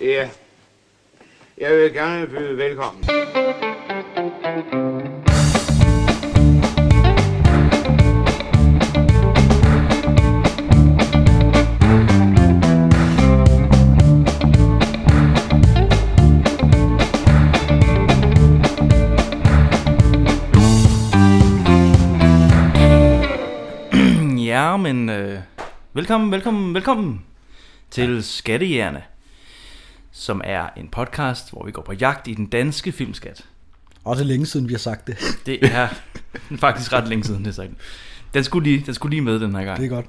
Ja. Jeg vil gerne byde velkommen. Ja, men øh, velkommen, velkommen, velkommen til Skattejerne, som er en podcast, hvor vi går på jagt i den danske filmskat. Og det er længe siden, vi har sagt det. Det er faktisk ret længe siden, det er sagt. Den skulle lige, den skulle lige med den her gang. Det er godt.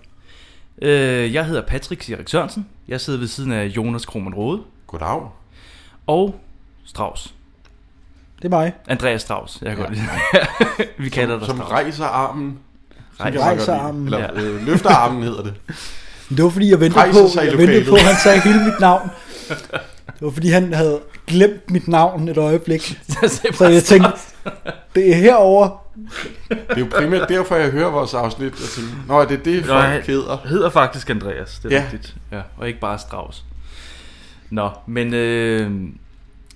Øh, jeg hedder Patrick Erik Sørensen. Jeg sidder ved siden af Jonas Krohmann Rode Goddag. og Strauss. Det er mig. Andreas Strauss, jeg kan ja. godt lide. Vi kalder dig Som Strauss. rejser armen. Rejser Det kan jeg godt Rejser lide. armen. Eller øh, løfter armen hedder det. Men det var fordi, jeg ventede Rejser på, sig i jeg ventede lokalet. på, at han sagde hele mit navn. Det var fordi, han havde glemt mit navn et øjeblik. Så jeg tænkte, det er herover. Det er jo primært derfor, jeg hører vores afsnit. Og tænker, Nå, er det det, Nå, folk han- hedder? hedder faktisk Andreas, det er ja. Ja. rigtigt. Ja, og ikke bare Strauss. Nå, men øh,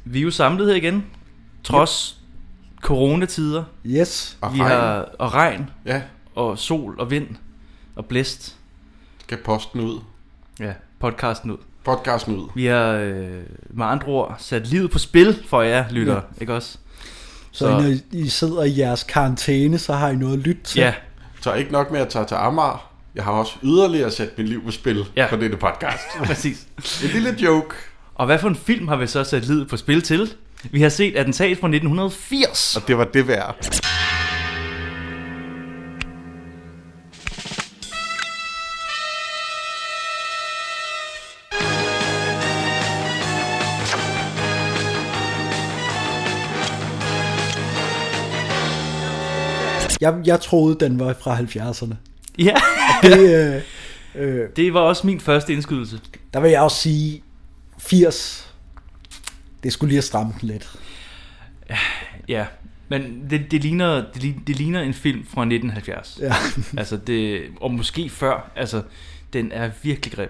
vi er jo samlet her igen, trods coronatider. Yes. Og vi regn. Har, og regn, Ja, og sol, og vind, og blæst. skal posten ud. Ja, podcasten ud. Podcasten ud. Vi har øh, med andre ord sat livet på spil for jer, lytter, ja. ikke også? Så, Så- når I- I sidder i jeres karantæne, så har I noget at lytte til. Ja, Så ikke nok med at tage til Amager. Jeg har også yderligere sat mit liv på spil Ja. ja. på dette podcast. præcis. En lille joke. Og hvad for en film har vi så sat livet på spil til? Vi har set Attentat fra 1980. Og det var det værd. Jeg, jeg troede, den var fra 70'erne. Ja, Det, øh, øh, det var også min første indskydelse. der vil jeg også sige, 80, det skulle lige have stramme den lidt. Ja, men det, det, ligner, det, lig- det ligner en film fra 1970. Ja. Ja. Altså det, og måske før. Altså, den er virkelig grim.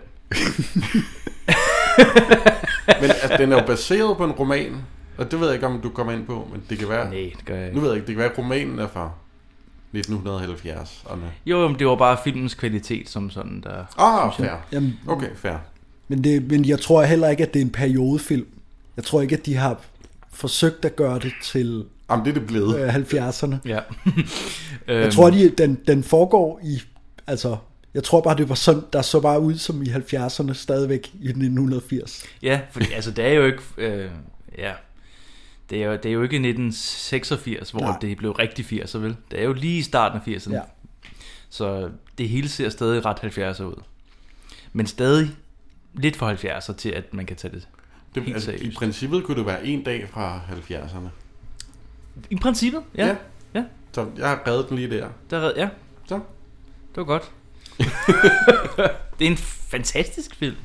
Men altså, den er jo baseret på en roman. Og det ved jeg ikke, om du kommer ind på, men det kan være... Nej, det gør jeg Nu ikke. ved jeg ikke, det kan være, at romanen er fra 1970. Åh, Jo, men det var bare filmens kvalitet som sådan, der... oh, fair. Jamen, Okay, fair. Men, det, men jeg tror heller ikke, at det er en periodefilm. Jeg tror ikke, at de har forsøgt at gøre det til Jamen, det er det blevet. øh, 70'erne. Ja. Øhm, Jeg tror, de, den, den foregår i... Altså, jeg tror bare, det var sådan, der så bare ud som i 70'erne stadigvæk i 1980. Ja, fordi altså, det er jo ikke... Øh, ja. Det er, jo, det er jo ikke 1986, hvor Nej. Nej. det blev rigtig 80'er, vel? Det er jo lige i starten af 80'erne. Ja. Ja. Så det hele ser stadig ret 70'er ud. Men stadig lidt for 70'er til, at man kan tage det Det, Helt altså, I seriøst. princippet kunne det være en dag fra 70'erne. I princippet, ja. ja. Ja. ja Så jeg har reddet den lige der. der, red- ja, Så. det var godt. det er en fantastisk film.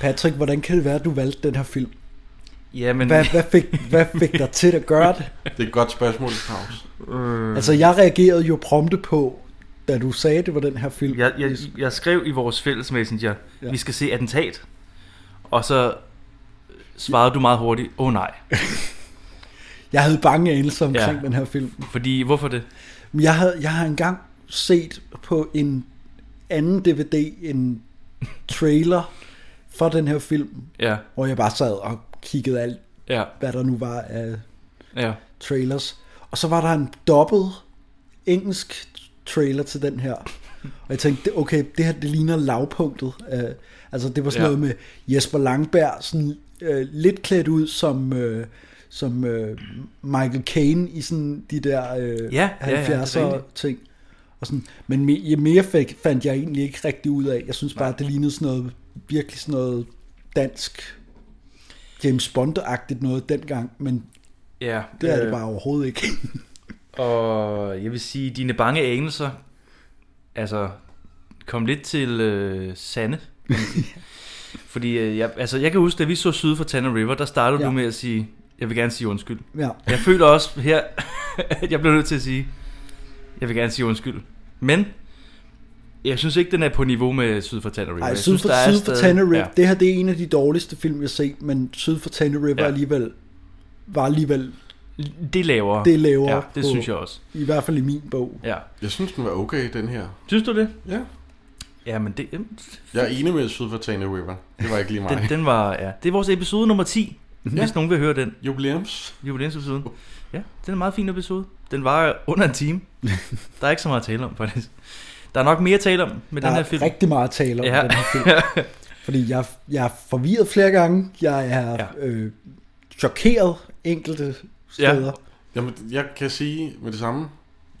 Patrick, hvordan kan det være, at du valgte den her film? Jamen, Hvad, hvad, fik, hvad fik dig til at gøre det? Det er et godt spørgsmål, Claus. Øh, Altså, jeg reagerede jo prompte på, da du sagde, det var den her film. jeg, jeg, jeg skrev i vores fælles messenger, ja. Ja. vi skal se attentat. Og så svarede du meget hurtigt, åh oh, nej. Jeg havde bange anelser omkring Ja. ja. den her film. Fordi, hvorfor det? Men Jeg, havde, jeg har engang set på en anden DVD en trailer for den her film, Ja, hvor jeg bare sad og kiggede alt, ja, hvad der nu var af ja. trailers. Og så var der en dobbelt engelsk trailer til den her. Og jeg tænkte, det- okay, det her det ligner lavpunktet. Uh, altså det var sådan Ja. ja. noget med Jesper Langberg, sådan, uh, lidt klædt ud som, uh, som uh, Michael Caine i sådan de der uh, ja, ja, ja, det er 70'er ja, rigtigt. ting. Og sådan, men me- ja, mere fik, fandt jeg egentlig ikke rigtig ud af. Jeg synes bare, det lignede sådan noget, virkelig sådan noget dansk James Bond-agtigt noget dengang, men ja det er det bare overhovedet ikke. Og jeg vil sige, dine bange anelser, altså, kom lidt til øh, sande. kan man sige. Fordi, øh, jeg, altså, jeg kan huske, da vi så syd for Tanner River, der startede ja. Ja. du med at sige, jeg vil gerne sige undskyld. ja. Jeg føler også her, at jeg bliver nødt til at sige, jeg vil gerne sige undskyld. Men Jeg synes ikke, den er på niveau med Syd for Tannery. Ej, syd for, syd for Tenerife, ja. det her det er en af de dårligste film, jeg har set, men syd for Tenerife ja. Ja. alligevel, var alligevel, Det laver. Det er lavere Ja, det på- synes jeg også. i hvert fald i min bog. Ja. Jeg synes, den var okay, den her. Synes du det? Ja. Ja, men det, den, Jeg er enig med Syd for Tane River. Det var ikke lige mig. den var... Ja. Det er vores episode nummer 10, Mhm. ja. hvis nogen vil høre den. Jubilæums. Jubilæumsepisoden. Uh. Ja, det er en meget fin episode. Den var under en time. Der er ikke så meget at tale om, faktisk. Der er nok mere at tale om med Der den her er film. rigtig meget at tale om ja. Ja. den her film. Fordi jeg, jeg er forvirret flere gange, jeg er ja. Ja. øh, chokeret enkelte steder. Jamen, jeg kan sige med det samme.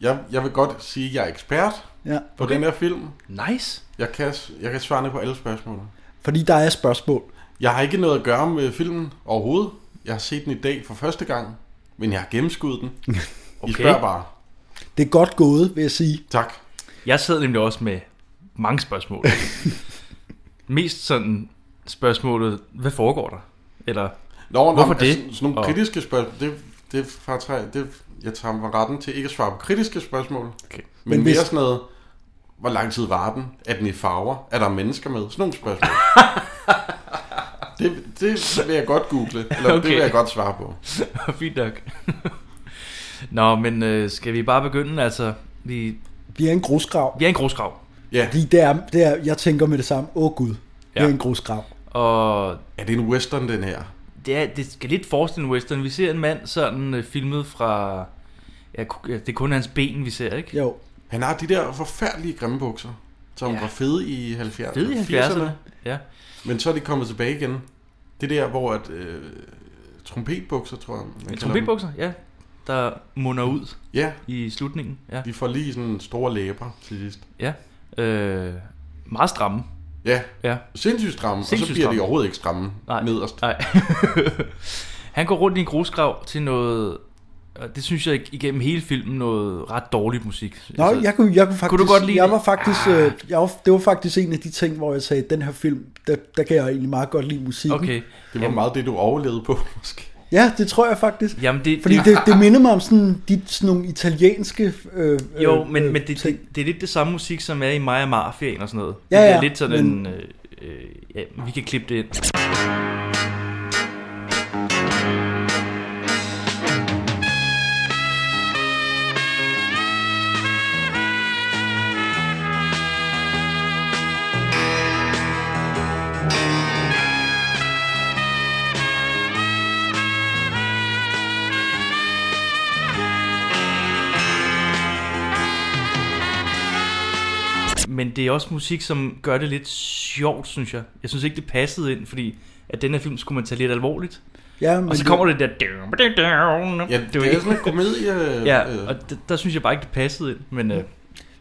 Jeg, jeg vil godt sige, at jeg er ekspert Ja. Ja. på okay. den her film. Nice. Jeg kan, jeg kan svare på alle spørgsmål. Fordi der er spørgsmål. Jeg har ikke noget at gøre med filmen overhovedet. Jeg har set den i dag for første gang, men jeg har gennemskuddet den. okay. I Okay. spørger bare. Det er godt gået, vil jeg sige. Tak. Jeg sad nemlig også med mange spørgsmål. Mest sådan spørgsmålet, hvad foregår der? Eller, Nå, nå, Hvorfor altså, det? Sådan nogle Og- kritiske spørgsmål, det, det, fortræ, det, jeg tager mig retten til ikke at svare på kritiske spørgsmål, Okay. men, men Men mere hvis- sådan noget, hvor lang tid var den? Er den i farver? Er der mennesker med? Sådan nogle spørgsmål. det, det vil jeg godt google, eller okay. det Okay. vil jeg godt svare på. fint nok. Nå, men øh, skal vi bare begynde? Altså, vi, Vi er en grusgrav. vi er en grusgrav, Ja, Fordi det er, det er, jeg tænker med det samme, åh oh, gud, ja. det Ja. er en grusgrav. og er det en western, den her? det, er, det skal lidt forestille en western. Vi ser en mand sådan øh, filmet fra... Ja, ku- ja, det er kun hans ben, vi ser, ikke? Jo, Han har de der forfærdelige grimme bukser, som ja. Ja. var fede i 70'erne. Fed i 70'erne. Ja. Men så er de kommet tilbage igen. Det der, hvor at, øh, trompetbukser, tror jeg. man kalder dem. Trompetbukser, ja. Der munder ud Ja, i slutningen. Ja. De får lige sådan store læber til sidst. ja. Øh, meget stramme. Ja, Ja. sindssygt stramme, og så Sindssygt bliver de stramme. overhovedet ikke stramme Nej. nederst. Nej. han går rundt i en grusgrav til noget... og Det synes jeg ig- igennem hele filmen noget ret dårlig musik. Altså, Nå, jeg kunne, jeg kunne faktisk, du godt lide jeg det? var faktisk, ah. jeg var, det var faktisk en af de ting, hvor jeg sagde, den her film, der, der kan jeg egentlig meget godt lide musikken. Okay. Det var Jamen. meget det, du overlevede på, måske. Ja, det tror jeg faktisk. Jamen, det, Fordi det, det, det minder mig om sådan, de, sådan nogle italienske øh, jo, øh, men, øh, men det, ting. det, det er lidt det samme musik, som er i Maja Mafiaen og sådan noget. Ja, det ja, er lidt sådan men- men... en... Øh, øh, ja, vi kan klippe det ind. Men det er også musik, som gør det lidt sjovt, synes jeg. Jeg synes ikke, det passede ind, fordi at den her film skulle man tage lidt alvorligt. ja, men Og så kommer det der... Ja, Ja, det, det er sådan en komedie. øh, Ja, øh, og d- der synes jeg bare ikke, det passede ind. Men øh, Jeg,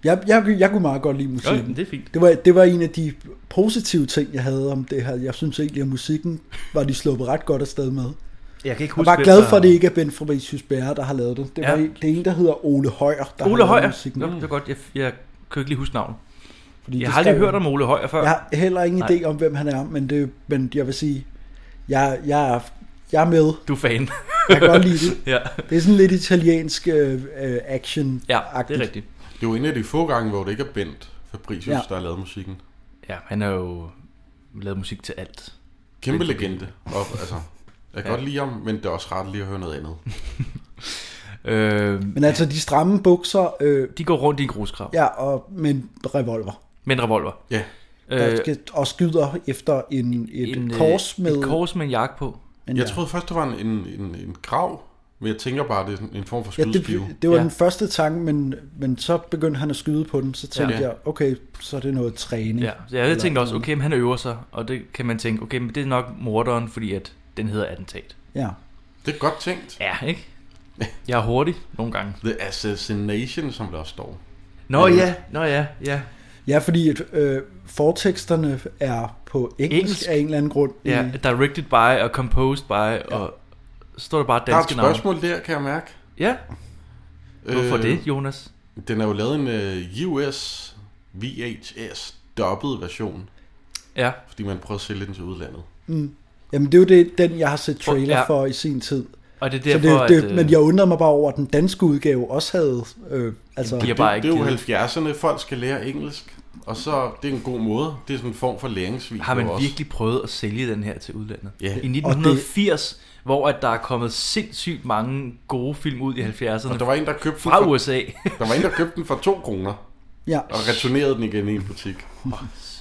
jeg, jeg, jeg kunne meget godt lide jo, musikken. men det er fint. Det var, det var en af de positive ting, jeg havde om det her. Jeg synes egentlig, at musikken var de sluppet ret godt afsted med. Jeg kan ikke Jeg huske, var glad for, at det ikke er Ben Fabricius Bjerre, der har lavet det. Det, var Ja. en, det er en, der hedder Ole Højer, der Ole har lavet Højer. musikken. Nå, det var godt. Jeg, jeg kan ikke lige huske navnet. Fordi Jeg det har aldrig skrev- hørt om Ole Højer før. Jeg har heller ingen Nej. idé om, hvem han er, men, det, men jeg vil sige, jeg, jeg, er, jeg er med. Du er fan. Jeg kan godt lide det. ja. Det er sådan lidt italiensk øh, øh, action ja, det er rigtigt. det er jo en af de få gange, hvor det ikke er Bent Fabricius, Ja. ja. der har lavet musikken. Ja, han har jo lavet musik til alt. Kæmpe Bent legende. Og, altså, jeg kan Ja. godt lide ham, men det er også rart lige at høre noget andet. Øh, Men altså, de stramme bukser, øh, de går rundt i en grusgrav ja. ja, og med en revolver, med en revolver. Ja, der skal, og skyder efter en, et en, øh, kors med... Et kors med en jakke på. men jeg ja. troede først, det var en, en, en, en grav, men jeg tænker bare, det er sådan en form for Ja, skydeskive. det, det var ja. Ja. den første tanke, men, men så begyndte han at skyde på den, så tænkte ja. Ja. jeg, okay, så er det noget træning. Ja, så jeg Eller- tænkte også, okay, men han øver sig, og det kan man tænke, okay, men det er nok morderen, fordi at den hedder attentat. ja. det er godt tænkt. Ja, ikke? Jeg er hurtig nogle gange. The Assassination, som der også står. Nå ja, nå ja, ja. Ja, fordi at, øh, forteksterne er på engelsk, engelsk Engelsk? af en eller anden grund. Ja, I- directed by og composed by, og så står der bare Der er et danske navne. spørgsmål der, kan jeg mærke. Ja, hvorfor Øh, det, Jonas? Den er jo lavet en øh, US VHS dobbelt version, Ja, fordi man prøver at sælge den til udlandet. Jamen, det er jo det, den, jeg har set trailer Ja. for i sin tid. og det er Så derfor, det, at... det, øh, men jeg undrede mig bare over, at den danske udgave også havde... Øh, altså, de har Det, bare det ikke er jo givet- 70'erne, folk skal lære engelsk. Og så, det er en god måde. Det er sådan en form for læringsvideo Har man også. virkelig prøvet at sælge den her til udlandet? Ja. I 1980, hvor at der er kommet sindssygt mange gode film ud i 70'erne Og der var en, der købte den fra for, USA. der var en, der købte den for 2 kroner. Ja, Og returnerede den igen i en butik.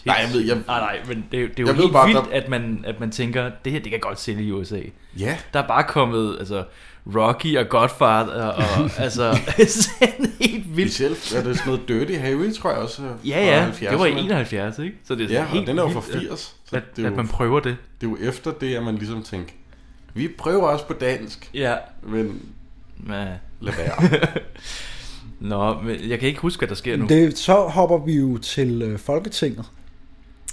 Nej, jeg ved, jeg, Nej, nej, men det, er jo- det er jo Jeg ved helt bare, vildt, der- at, man, at man tænker, det her, det kan godt sælge i USA. ja, Der er bare kommet, altså, Rocky og Godfather, og altså, sådan helt vildt. specielt er det sådan noget Dirty Harry, tror jeg også. øh, Ja, fra ja, det var i 70'erne. 71, ikke? Så det er sådan Ja, og helt den er jo fra vildt, 80. Så at, det, er at, jo, man prøver det. det er jo efter det, at man ligesom tænker, vi prøver også på dansk, Ja, men men, lad være. nå, men jeg kan ikke huske, hvad der sker nu. det, så hopper vi jo til øh, Folketinget.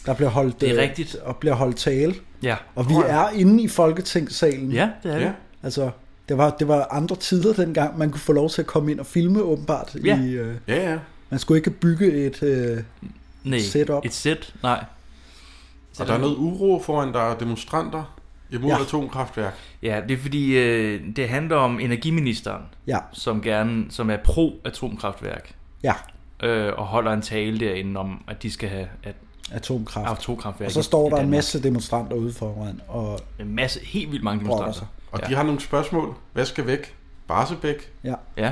Der bliver holdt, Det er øh, rigtigt. Og bliver holdt tale. Ja, Og vi er inde i Folketingssalen. ja det er det. Ja. Altså, det var, det var andre tider dengang, man kunne få lov til at komme ind og filme åbenbart. Ja. I, øh, Ja, ja. man skulle ikke bygge et... Øh, Nej, Setup. et set, nej. Og der er noget uro foran, der er demonstranter imod Ja. ja. atomkraftværk. Ja, det er fordi, øh, det handler om energiministeren, ja, som gerne, som er pro-atomkraftværk, ja, øh, og holder en tale derinde om, at de skal have at atomkraft. atomkraftværk. Og så står der en masse demonstranter ude foran og En masse, helt vildt mange brokker demonstranter. sig. Og Ja. ja. de har nogle spørgsmål. Hvad skal væk? Barsebæk. Ja, Ja,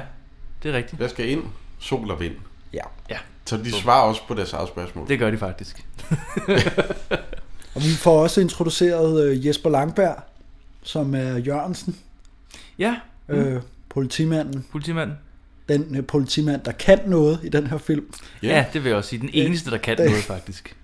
det er rigtigt. Hvad skal ind? Sol og vind. ja. Ja, Så de svarer også på deres eget spørgsmål. det gør de faktisk. Og vi får også introduceret øh, Jesper Langberg, som er Jørgensen, Ja, øh, politimanden. politimanden. Den øh, politimand, der kan noget i den her film. Ja. Ja. ja, det vil jeg også sige. Den eneste, der kan det- noget, faktisk.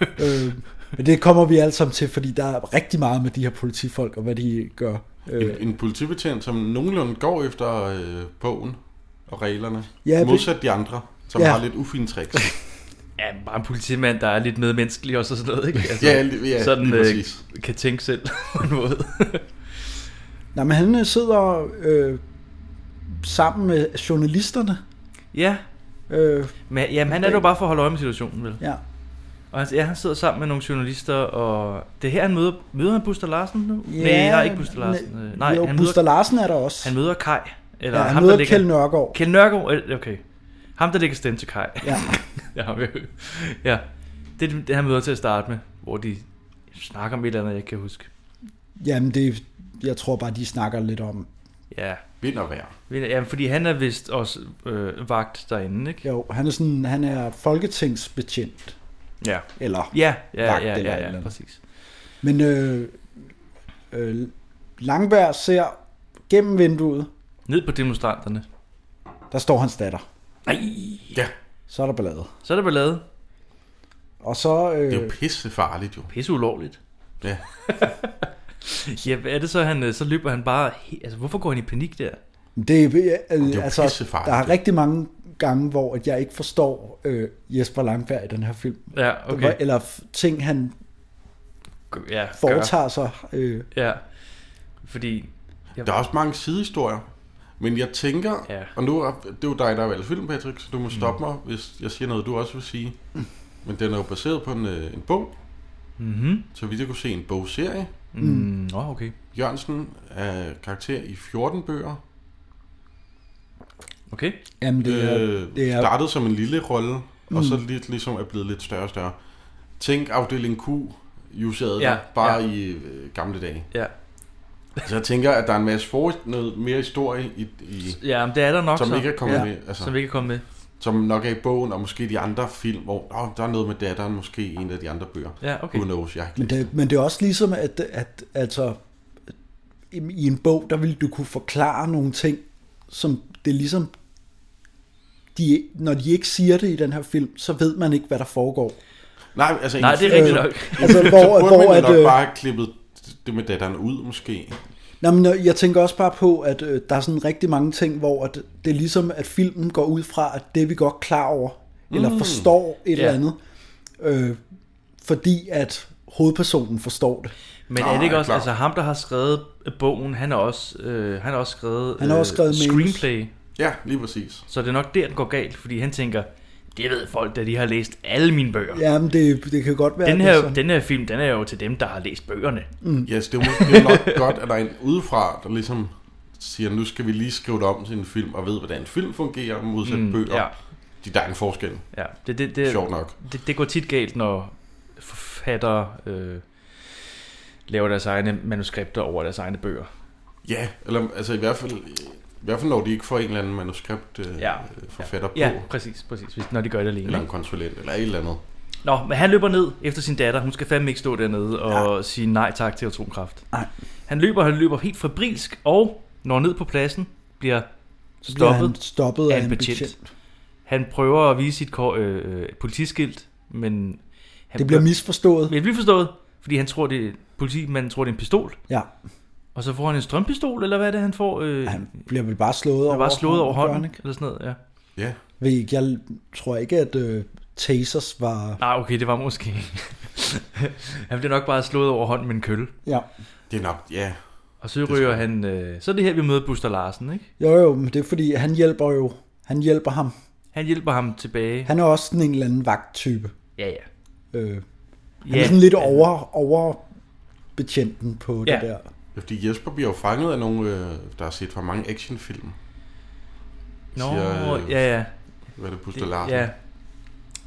Øh, men det kommer vi alle sammen til, fordi der er rigtig meget med de her politifolk og hvad de gør. Øh, En, en politibetjent, som nogenlunde går efter øh, bogen og reglerne. Ja, Ja, det- modsat de andre, som Ja. ja. har lidt ufine tricks. Ja, bare en politimand, der er lidt medmenneskelig og sådan noget, ikke? Altså, ja, li- ja, sådan, sådan, lige øh, præcis. kan tænke selv på en måde. nej, men han øh, sidder øh, sammen med journalisterne. ja, Øh, men jamen, han er det jo bare for at holde øje med situationen, vel? ja. Og han, ja, han sidder sammen med nogle journalister, og det er her, han møder, møder han Buster Larsen nu? Ja, nej, nej, ikke Buster Larsen. ne- Øh, Nej, jo, han, Buster møder, Larsen er der også. han møder Kai. Eller ja, ham, han der møder ligger, Kjeld Nørgaard. Kjeld Nørgaard. eller- Okay. Ham, der ligger stemme til Kai. Ja. ja, ham, ja. ja. Det er det, han møder til at starte med, hvor de snakker om et eller andet, jeg ikke kan huske. Jamen, det, jeg tror bare, de snakker lidt om. Ja, Vind og vejr. ja fordi han er vist også øh, vagt derinde, ikke? Jo, han er, sådan, han er folketingsbetjent. Ja. Eller, Ja, ja, Vagt ja, eller et ja, eller ja, andet. præcis. men øh, øh, Langberg ser gennem vinduet, Ned på demonstranterne. der står hans datter. Nej, Ja, Så er der ballade. så er der ballade. Og så, det er jo øh, pissefarligt jo. Pisse ulovligt. Ja. Ja, hvad er det så, han, øh, så løber han bare... he- Altså, hvorfor går han i panik der? det, er, øh, jo altså, pissefarligt. der er rigtig mange gange, hvor at jeg ikke forstår øh, Jesper Langberg i den her film. Ja, Hvor- okay. Eller f- ting, han Ja, gør. foretager sig. Øh, Ja, fordi... Der er også mange sidehistorier. Men jeg tænker, Ja. ja. og nu er det er jo dig, der har valgt film, Patrick, så du må stoppe mig, hvis jeg siger noget, du også vil sige. Men den er jo baseret på en, øh, en bog, Mhm. så vidt jeg kunne se en bogserie. Mm. Nå, okay. Jørgensen er karakter i 14 bøger. Okay. jamen, det er, øh, det er- Startede som en lille rolle, mm. og så lidt, ligesom er blevet lidt større og større. Tænk afdeling Q, Jusade, Ja, ja, bare ja. ja. i øh, gamle dage. Ja. Så jeg tænker, at der er en masse for, noget mere historie, i, i, Ja, men det er der nok som så. ikke er kommet Ja. ja. med. Altså. Som ikke er kommet med. som nok er i bogen, og måske de andre film, hvor oh, der er noget med datteren, måske i en af de andre bøger. Ja, okay. Who knows, jeg har ikke Men læst det, men det er også ligesom, at, at altså, i i en bog, der ville du kunne forklare nogle ting, som det er ligesom, de, når de ikke siger det i den her film, så ved man ikke, hvad der foregår. det. Nej, altså, Nej, en, det er rigtigt Øh, nok. Altså, så hvor, burde hvor man jo at, nok øh, bare have klippet det med datteren ud, måske. Nå, men øh, jeg tænker også bare på, at øh, der er sådan rigtig mange ting, hvor at det er ligesom, at filmen går ud fra, at det er vi godt klar over, mm. eller forstår et Ja. eller andet, øh, fordi at hovedpersonen forstår det. Men Nå, er det ikke ja, også, klar. altså ham, der har skrevet øh, bogen, han har også, øh, han har også skrevet, øh, Han har også skrevet manus. screenplay. Ja, lige præcis. Så det er nok der, den går galt, fordi han tænker, det ved folk, da de har læst alle mine bøger. Ja, Jamen, det, det kan godt være, den, det er her, sådan. den her film, den er jo til dem, der har læst bøgerne. Mm. Yes, det er jo- det er jo nok godt, at der er en udefra, der ligesom siger, nu skal vi lige skrive det om til en film, og ved, hvordan en film fungerer, modsat mm, bøger. ja. de, der er en forskel, Ja, det, det, det, sjovt nok. det, det går tit galt, når forfattere øh, laver deres egne manuskripter over deres egne bøger. Ja, eller altså i hvert fald, i hvert fald når de ikke får en eller anden manuskript øh, Ja. ja. forfatter Ja, på, præcis, præcis, hvis, når de gør det alene. eller ikke? en konsulent, eller et eller andet. Nå, men han løber ned efter sin datter. Hun skal fandme ikke stå dernede og ja. sige nej tak til atomkraft. Nej. Han løber, han løber helt fabrilsk og når ned på pladsen, bliver Så bliver stoppet. Han stoppet af af en en betjent. betjent. Han prøver at vise sit kor, øh, øh, politiskilt, men... Han Det bliver misforstået. Men det bliver forstået, fordi han tror, det er, politimanden tror, det er en pistol. Ja, Og så får han en strømpistol, eller hvad er det, han får? Øh, han han bliver vel bare slået er over bare slået over gør han hånden, ikke? eller sådan noget, ja. Ja, Ved ikke, Jeg tror ikke, at øh, tasers var... Nej, okay, det var måske... han bliver nok bare slået over hånden med en kølle. Ja. det er nok, ja. Og så ryger han... Øh, så er det her, vi møder Buster Larsen, ikke? Jo, jo, men det er fordi, han hjælper jo... Han hjælper ham. Han hjælper ham tilbage. Han er også sådan en eller anden vagttype. Ja, ja. Øh, han er Ja, sådan lidt over, over betjenten på det Ja. der. Fordi Jesper bliver jo fanget af nogle, øh, der har set for mange actionfilm. Nå, siger, øh, ja, ja. Hvad er det, Buster Det, Larsen? ja.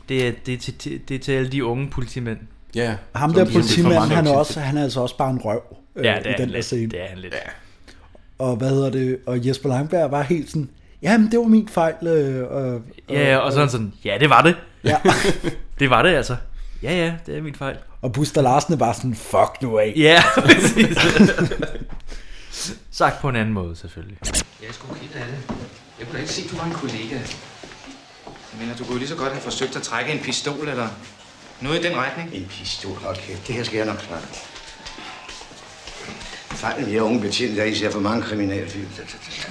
Det, er, det, er til, til- det er til alle de unge politimænd. ja. Ham som der ligesom set for politimand, mange han er, actionfilm. også, han er altså også bare en røv øh, Ja, det i er, den han der lidt, scene. det er han lidt. Ja. Og hvad hedder det? Og Jesper Langberg var helt sådan, jamen det var min fejl. Øh, og, Ja, ja, og så er han sådan, ja, det var det. ja. Det var det altså. Ja, ja, det er min fejl. og Buster Larsen er bare sådan, fuck nu af. Ja, præcis. Sagt på en anden måde, selvfølgelig. Jeg er sgu ked af det. Jeg kunne da ikke se, at du var en kollega. Jeg mener, du kunne jo lige så godt have forsøgt at trække en pistol eller noget i den retning. En pistol, hold kæft. Det her skal jeg nok klare. Fejlen ved jer unge betjente, der I ser for mange kriminalfilm.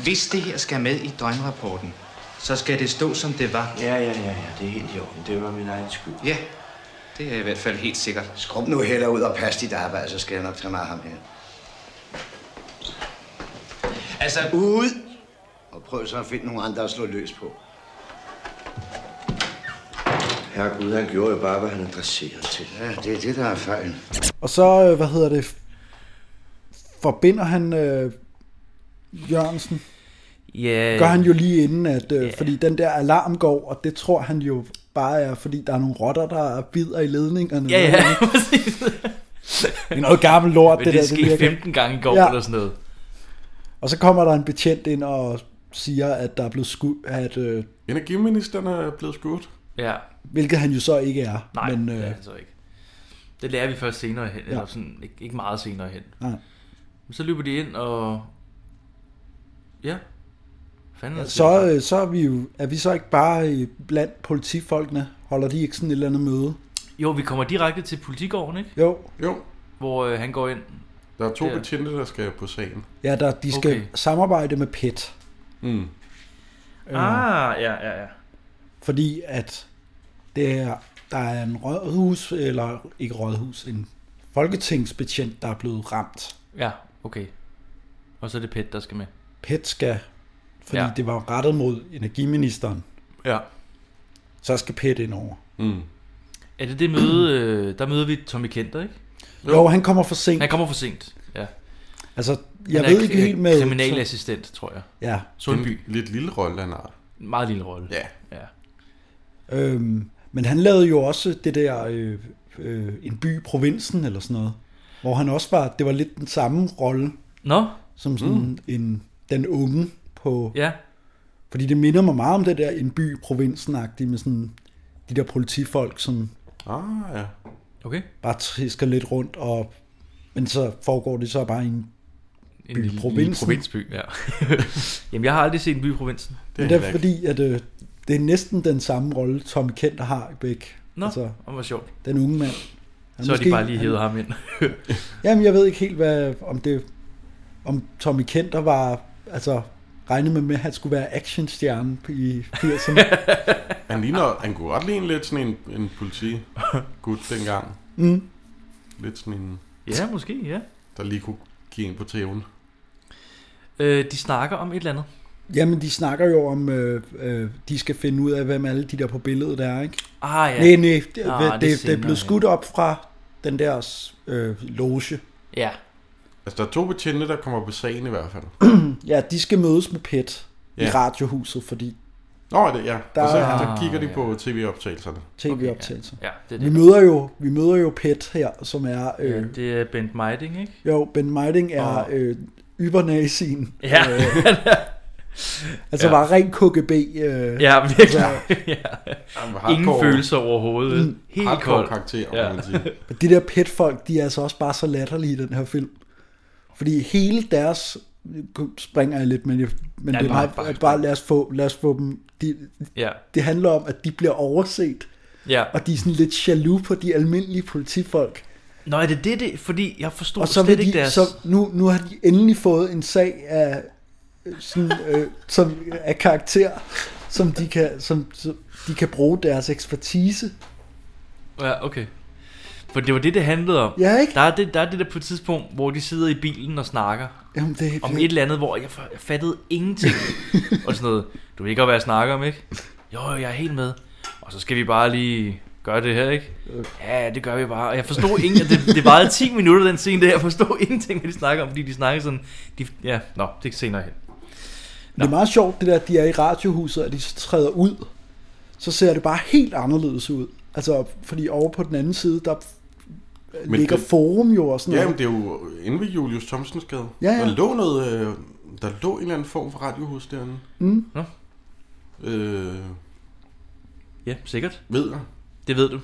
Hvis det her skal med i døgnrapporten, så skal det stå, som det var. Ja, ja, ja, ja. Det er helt i orden. Det var min egen skyld. Ja, det er i hvert fald helt sikkert. Skrub nu heller ud og pas dit arbejde, så skal jeg nok tage mig af ham her. Altså, Ud! Og prøv så at finde nogle andre at slå løs på. Herre Gud, han gjorde jo bare, hvad han adresserede til. Ja, det er det, der er fejlen. Og så, øh, hvad hedder det, forbinder han øh, Jørgensen. Ja, Gør han jo lige inden, at, øh, Ja. fordi den der alarm går, og det tror han jo bare er, fordi der er nogle rotter, der bider i ledningerne. ja, ja, præcis. Det er noget gammel lort, Men det, det, der. det skete virker. 15 gange i går, Ja. ja. eller sådan noget. Og så kommer der en betjent ind og siger, at der er blevet skudt, at, øh, Energiministeren er blevet skudt. Ja, hvilket han jo så ikke er. nej, men, det er øh, han så ikke. Det lærer vi først senere hen, ja. eller sådan, ikke, ikke meget senere hen. nej. Men så løber de ind, og... Ja. Fanden, er det så, der? øh, så er, vi jo, er vi så ikke bare øh, blandt politifolkene? Holder de ikke sådan et eller andet møde? Jo, vi kommer direkte til politigården, ikke? Jo, Jo, Hvor øh, han går ind. der er to Det er- betjente, der skal på sagen. ja, der, de skal Okay. okay. samarbejde med E PET, Mm. Øh. Ah, ja, ja, ja. fordi at det er, der er en rådhus, eller ikke rådhus, en folketingsbetjent, der er blevet ramt. Ja, okay. Og så er det Pet, der skal med. PET E skal, fordi Ja. ja. det var rettet mod energiministeren, Ja. så skal PET ind over. Mm. Er det det møde, øh, der møder vi Tommy Kenter, ikke? Jo, jo han kommer for sent. Han kommer for sent. Ja. Altså, jeg Han er øh, ved kri- ikke helt med... Kriminalassistent, tror jeg. Ja, Sundby. En lidt lille rolle, han har. En meget lille rolle. Ja. ja. øhm, men han lavede jo også det der øh, øh, En by i provinsen, eller sådan noget, hvor han også var, det var lidt den samme rolle, Nå, som sådan mm. en, den unge på... Ja. ja. Fordi det minder mig meget om det der En by i provinsen med sådan de der politifolk, som Ah, ja. Okay. bare trisker lidt rundt, og men så foregår det så bare i en... En By- lille- provinsen. lille provinsby, ja. Jamen, jeg har aldrig set en by i provinsen. Men Det er det heller er ikke- fordi, at øh, det er næsten den samme rolle, Tom Kent har i Bæk. Nå, Altså, og hvor sjovt. den unge mand. Han Så har de måske- bare lige hævet ham ind. Jamen, jeg ved ikke helt, hvad, om det om Tommy Kenter var, altså regnede man med, at han skulle være actionstjerne i 80'erne. Han, ligner, han kunne godt ligne lidt sådan en, en politigud dengang. Mm. Lidt sådan en, ja, måske, ja. der lige kunne give en på tæven. Øh, de snakker om et eller andet. Jamen, de snakker jo om, øh, øh, de skal finde ud af, hvem alle de der på billedet er, ikke? Ah, Ja. ja. Nej, nej, det, Ah, det er ah, det, det, det er senere, blevet skudt op fra den der øh, loge. Ja. Altså, der er to betjente, der kommer på sagen i hvert fald. Ja, de skal mødes med PET ja. i Ja. radiohuset, fordi Nå, er det, ja. Der... Og så, Der- der kigger de på tv-optagelserne. tv-optagelser. Ja, det er Vi det. møder jo, vi møder jo Pet her, som er... Øh, Ja, det er Bent Meiding, ikke? Jo, Ben Meiding er Og- øh, ybernazien. Ja, Altså Ja. ja. var Altså ren KGB. Øh, ja virkelig. ja. Ingen Hardcore- følelser Mm, overhovedet. Helt Hardcore kold. karakter, Ja. ja. man sige. Men de der Pet-folk, de er altså også bare så latterlige i den her film. Fordi hele deres... nu springer jeg lidt, men, jeg, men Ja, ja, det er du bare, må bare bare, bare lad, os få, lad os få dem... De, Ja, det handler om, at de bliver overset, ja. og de er sådan lidt jaloux på de almindelige politifolk. Nå, er det det, det fordi jeg forstod Og så slet vil ikke de, deres... så nu, nu har de endelig fået en sag af, øh, sådan, øh, som, af karakter, som de, kan, som, som de kan bruge deres ekspertise. Ja, okay. For det var det, det handlede om. Ja, ikke? Der er det der, er det der på et tidspunkt, hvor de sidder i bilen og snakker Jamen, det er om et eller andet, hvor jeg, fa- jeg fattede ingenting. og sådan noget. Du ved ikke, hvad jeg snakker om, ikke? Jo, jo, jeg er helt med. Og så skal vi bare lige gøre det her, ikke? Ja, det gør vi bare. Og jeg forstod ingen... Det, det varede 10 minutter, den scene der. Jeg forstod ingenting, hvad de snakker om, fordi de snakker sådan... De, ja, nå, det er senere hen. Det er meget sjovt, det der, at de er i radiohuset, og de så træder ud. Så ser det bare helt anderledes ud. Altså, fordi over på den anden side, der Men Men ligger det- det... forum jo og sådan Ja, noget. men det er jo inde ved Julius Thomsens gade. Ja, ja. Der lå noget, øh, der lå en eller anden form for radiohus derinde. Mm. Nå. Øh, Ja, sikkert. ved jeg. Det ved du.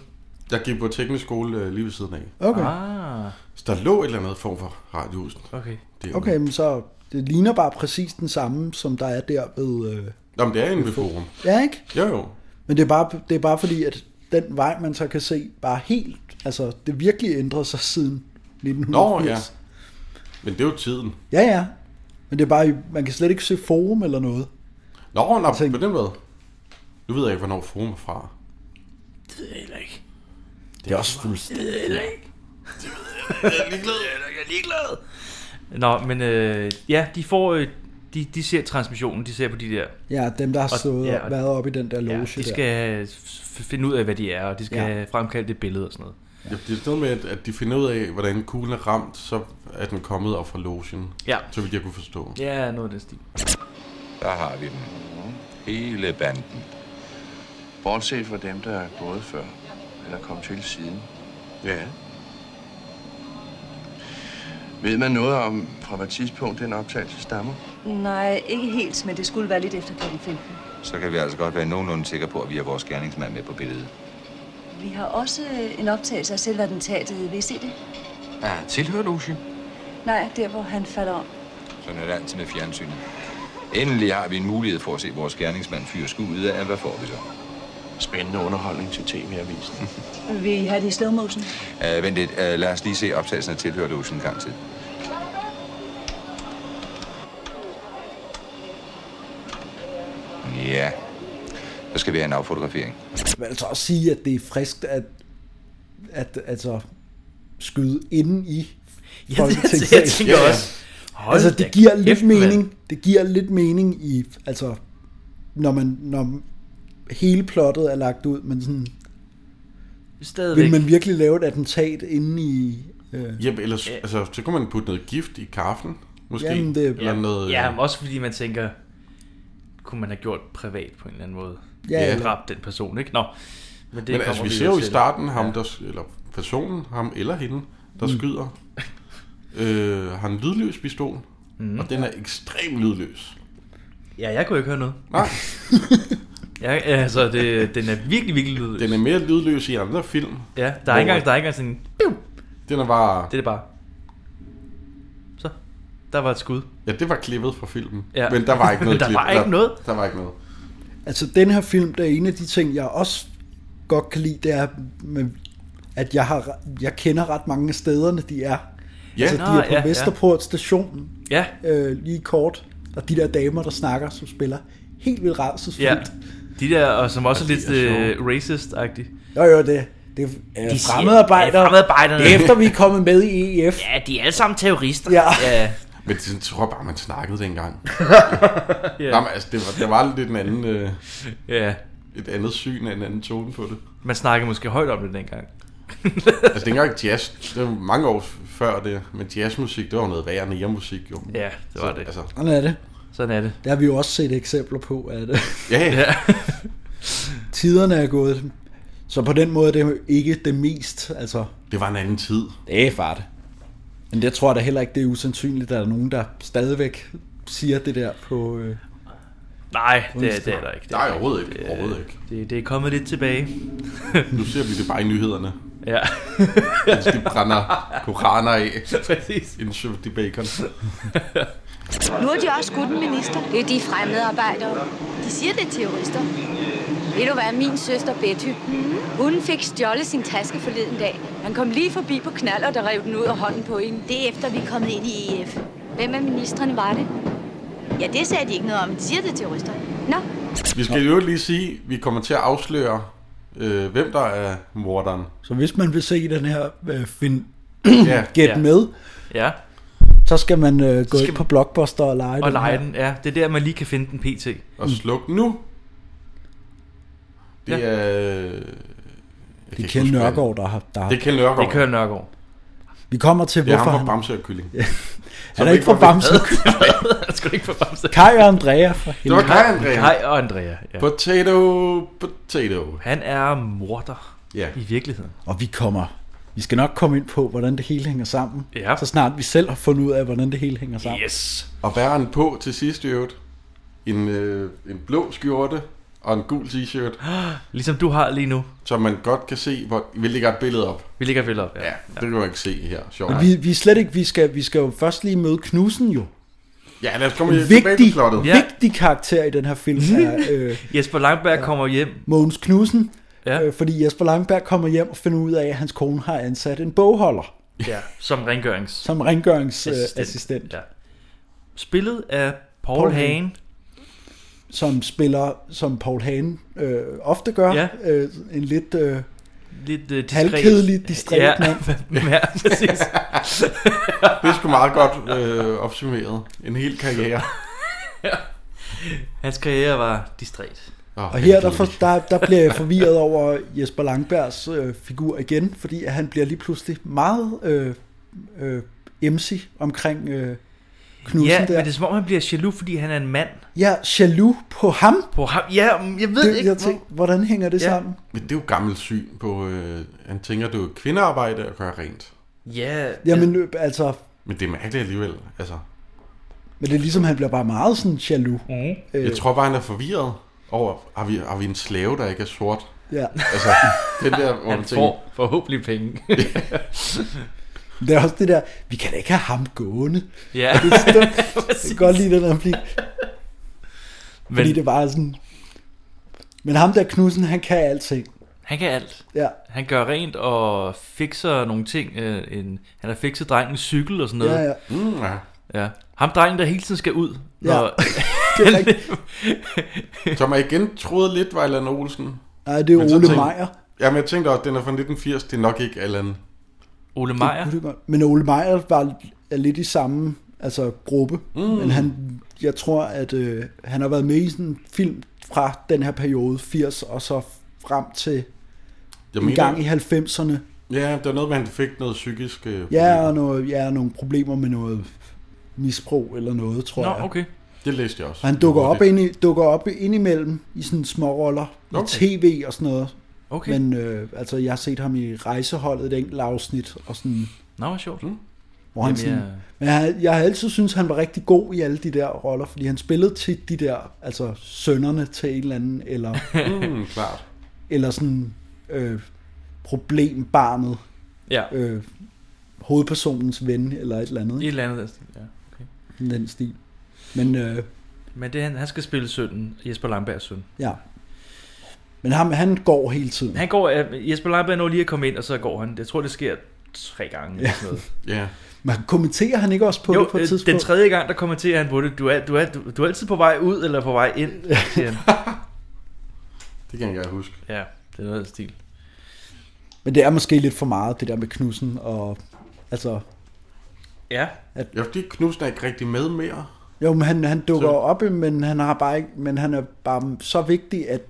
Jeg gik på teknisk skole øh, lige ved siden af. Okay, ah, Ah, Så der lå et eller andet form for radiohus okay. derinde. okay, men så det ligner bare præcis den samme, som der er der ved... Øh... Nå, men det er inde ved forum. Ja, ikke? Jo, jo. Men det er, bare, det er bare fordi, at den vej, man så kan se, bare helt, altså det virkelig ændrede sig siden 1980. Men det er jo tiden. ja. ja, ja. Men det er bare, man kan slet ikke se forum eller noget. Nå, nå, Tænk- på den måde. Nu ved jeg ikke, hvornår forum er fra. Det er også fuldstændig. Nå, men øh, ja, de får... Øh, de, de ser transmissionen, de ser på de der... Ja, dem der har stået ja, ja, og- og været oppe i den der loge Ja, ja, de skal f- finde ud af, hvad de er, og de skal Ja. ja. fremkalde det billede og sådan noget. Ja. Det er sådan noget med, at, at de finder ud af, hvordan kuglen er ramt, så er den kommet op fra logen. Ja. Så vidt jeg kunne forstå. Ja, noget af den stil. Der har vi dem. Hele banden. Bortset fra dem, der er gået før, eller kom til siden. Ja. Ved man noget om, fra hvad tidspunkt den optagelse stammer? Nej, ikke helt, men det skulle være lidt efter kl. 15. Så kan vi altså godt være nogenlunde sikre på, at vi har vores gerningsmand med på billedet. Vi har også øh, en optagelse af selve attentatet. Vil I se det? Ja, tilhører Lucy. Nej, der hvor han falder om. Sådan er det altid med fjernsynet. Endelig har vi en mulighed for at se vores gerningsmand fyre skuddet af. Hvad får vi så? Spændende underholdning til tv-avisen. Vil I have det i slow motion? Uh, vent lidt. Uh, lad os lige se optagelsen af tilhører Lucy en gang til. Ja. Så skal vi have en affotografering. Jeg vil altså også sige, at det er frisk at, at altså, skyde inden i Ja, det, altså, jeg Folketingssalen. tænker Ja, ja. også. Hold Altså, da det giver kæft, lidt mand. mening. Det giver lidt mening i, altså, når man, når hele plottet er lagt ud, men sådan, Stadigvæk. vil man virkelig lave et attentat inde i... Øh, Jep, ellers, altså, så kunne man putte noget gift i kaffen, måske. Jamen, det- Eller noget... øh, Ja, men også fordi man tænker, kunne man have gjort privat på en eller anden måde? ja, Ja. eller, Dræbt den person, ikke? Nå. Men, det men altså, kommer vi jo ser jo i til. starten ham, der, s- eller personen, ham eller hende, der mm. skyder, øh, har en lydløs pistol, mm. og den er ekstremt lydløs. Ja, jeg kunne ikke høre noget. Nej, Jeg, altså, det, den er virkelig, virkelig lyd. den er mere lydløs i andre film. Ja, der er ikke engang, der er ikke engang sådan en... Biu! Den er bare... Det er det bare. Så. Der var et skud. Ja, det var klippet fra filmen. Ja. Ja. Men der var ikke noget Men der klip. var ikke noget. Der var ikke noget. altså, den her film, der er en af de ting, jeg også godt kan lide, det er, med, at jeg, har, jeg kender ret mange af stederne, de er. Ja, altså, Nå, de er på ja, ja. ja, Vesterport station, Ja. øh, lige kort, og de der damer, der snakker, som spiller helt vildt rædselsfuldt. Ja. De der, og som også er de lidt er sjove. øh, racist-agtige. Jo, jo, det, det er De de siger- fremmedarbejdere. Ja, fremmedarbejderne. Det er Efter vi er kommet med i EF. Ja, de er alle sammen terrorister. Ja. ja. Men det tror jeg bare, man snakkede dengang. yeah. Jamen, altså, det var, det var lidt en anden, øh, ja. et andet syn og en anden tone på det. Man snakkede måske højt om det dengang. Altså, dengang jazz, det var mange år før det, men jazzmusik, det var jo noget værre end musik, jo. Ja, det var Så, det. Altså, Sådan er det. Sådan er det. Der har vi jo også set eksempler på, at øh, Ja, ja. tiderne er gået. Så på den måde er det jo ikke det mest, altså... Det var en anden tid. Det er fart. Men det tror jeg da heller ikke, det er usandsynligt, at der er nogen, der stadigvæk siger det der på... Øh, Nej, det, er- det er der ikke. Det er Nej, der overhovedet ikke. Overhovedet ikke. Det, det er kommet lidt tilbage. Nu ser vi det bare i nyhederne. Ja, Mens de brænder koraner af. præcis. En de bacon. Nu har de også skudt en minister. Det er de fremmede arbejdere. De siger, det er terrorister. Ved du hvad, min søster Betty, hun fik stjålet sin taske forleden dag. Han kom lige forbi på knald, og der rev den ud af hånden på hende. Det er efter, vi er kommet ind i EF. E Hvem af ministerne var det? Ja, det sagde de ikke noget om. De siger, det er terrorister. Nå, Vi skal jo lige sige, at vi kommer til at afsløre, øh, hvem der er morderen. så hvis man vil se den her øh, fin, Ja, Get Ja. ja. med, Ja, så skal man øh, gå skal ind på Blockbuster og lege og den lege her. den. Ja, det er der, man lige kan finde den pt. og sluk nu. Det Ja. er... øh, Det jeg er kan ikke Kjell huske, hvad- Nørgaard, der har... Der har. Det er Kjell Nørgaard. Det kører Nørgaard. Vi kommer til, Det er hvorfor ham fra han, Bamse og Kylling. han er ikke fra Bamse. Jeg skal ikke få bamse. Kai og Andrea fra Det var helvede. Kaj Andrea. Kai og Andrea. Ja. Potato, potato. Han er morder Ja. i virkeligheden. Og vi kommer... Vi skal nok komme ind på, hvordan det hele hænger sammen. Ja. Så snart vi selv har fundet ud af, hvordan det hele hænger sammen. Yes. Og hvad har han på til sidst i øvrigt? En, øh, en blå skjorte og en gul t-shirt, Ligesom du har lige nu. som man godt kan se, hvor vi lægger et billede op. Vi ligger vel op. Ja. Ja, ja. det kan man ikke se her. Sjovt. Men vi, vi er slet ikke... Vi skal, vi skal jo først lige møde Knudsen jo. Ja, lad os komme tilbage til Vigtig, plottet. Ja. Mhm. vigtig karakter i den her film er øh, Jesper Langberg ja. kommer hjem. Mogens Knudsen. Ja. Ja. Øh, fordi Jesper Langberg kommer hjem og finder ud af, at hans kone har ansat en bogholder Ja. Som rengørings. som rengøringsassistent, øh, assistent, Ja. Spillet af Paul, Paul Paul Hagen. Hagen. som spiller, som Paul Hagen øh, ofte gør, Ja. ja. øh, en lidt øh, Lidt uh, diskret. halvkedelig distræt Ja. ja. mand. ja, præcis. Det er sgu meget godt øh, opsummeret. En hel karriere. Hans karriere var distræt. Oh, Og her der, for, der, der bliver jeg forvirret over Jesper Langbergs øh, figur igen, fordi at han bliver lige pludselig meget øh, øh, emsig omkring øh, Knudsen Ja, der. men det er som om, han bliver jaloux, fordi han er en mand. Jeg er jaloux på ham. På ham. Ja, mm, jeg ved Det, ikke, jeg hvor... tænkte, hvordan hænger det Ja. ja. sammen? Men det er jo gammelt syn på... Øh, han tænker, det er jo kvindearbejde at gøre rent. Ja, Jamen øh, altså, Men det er mærkeligt alligevel. Altså, men det er ligesom, han bliver bare meget sådan jaloux. Mhm. Øh, jeg tror bare, han er forvirret over, har vi, har vi en slave, der ikke er sort? ja. Altså, den der, hvor man han tænker, får forhåbentlig penge. Men Det er også det der, vi kan da ikke have ham gående. ja, Jeg kan godt lide den her replik, men fordi det var sådan... Men ham der Knudsen, han kan alting. han kan alt. Ja, Han gør rent og fikser nogle ting. Øh, en, han har fikset drengens cykel og sådan noget. ja, ja. mm, ja. ja. Ham drengen, der hele tiden skal ud. Ja. Når, Det er rigtigt. Som jeg igen troede lidt var Allan Olsen. Nej, det er Men så Ole tænker- Meier. Jamen, jeg tænkte også, den er fra 1980, det er nok ikke Allan. Ole Meier. Det kunne det godt. Men Ole Meier var er lidt i samme altså, gruppe, mm. men han, jeg tror, at øh, han har været med i sådan en film fra den her periode, 80 og så frem til Jeg en gang i 90'erne. Ja, det var noget med, at han fik noget psykisk... Øh, Ja, problem. og noget, ja, nogle problemer med noget misbrug eller noget, tror Nå, jeg. okay. Det læste jeg også. Og han dukker op, Det- ind i, dukker op indimellem i sådan små roller, okay. Okay. i tv og sådan noget. okay. Okay. Men... Men øh, altså, jeg har set ham i rejseholdet et enkelt afsnit, og sådan, Nå, hvor sjovt. hvor han Jamen, sådan, jeg- Men jeg, jeg har altid syntes, han var rigtig god i alle de der roller, fordi han spillede tit de der, altså sønderne til en eller anden, eller, Mm, klart. eller sådan øh, problembarnet, Ja, øh, hovedpersonens ven, eller et eller andet, et i eller andet. af den stil, Ja. Okay. den stil. Men øh, Men det, er han, han skal spille sønnen, Jesper Langbergs søn. ja. Men ham, han går hele tiden. Han går, øh, Jesper Langberg når lige at komme ind, og så går han. Jeg tror, det sker tre gange. Eller sådan noget. Ja. Men kommenterer han ikke også på Jo, det på et øh, tidspunkt? den tredje gang, der kommenterer han på det. Du er, du, er, du, du er altid på vej ud eller på vej ind. siger han. Det kan jeg ikke huske. ja, det er noget af den stil. Men det er måske lidt for meget, det der med Knudsen, og altså, Ja, Ja, fordi Knudsen er ikke rigtig med mere. jo, men han, han dukker Så- så... op, men han, har bare ikke, men han er bare så vigtig, at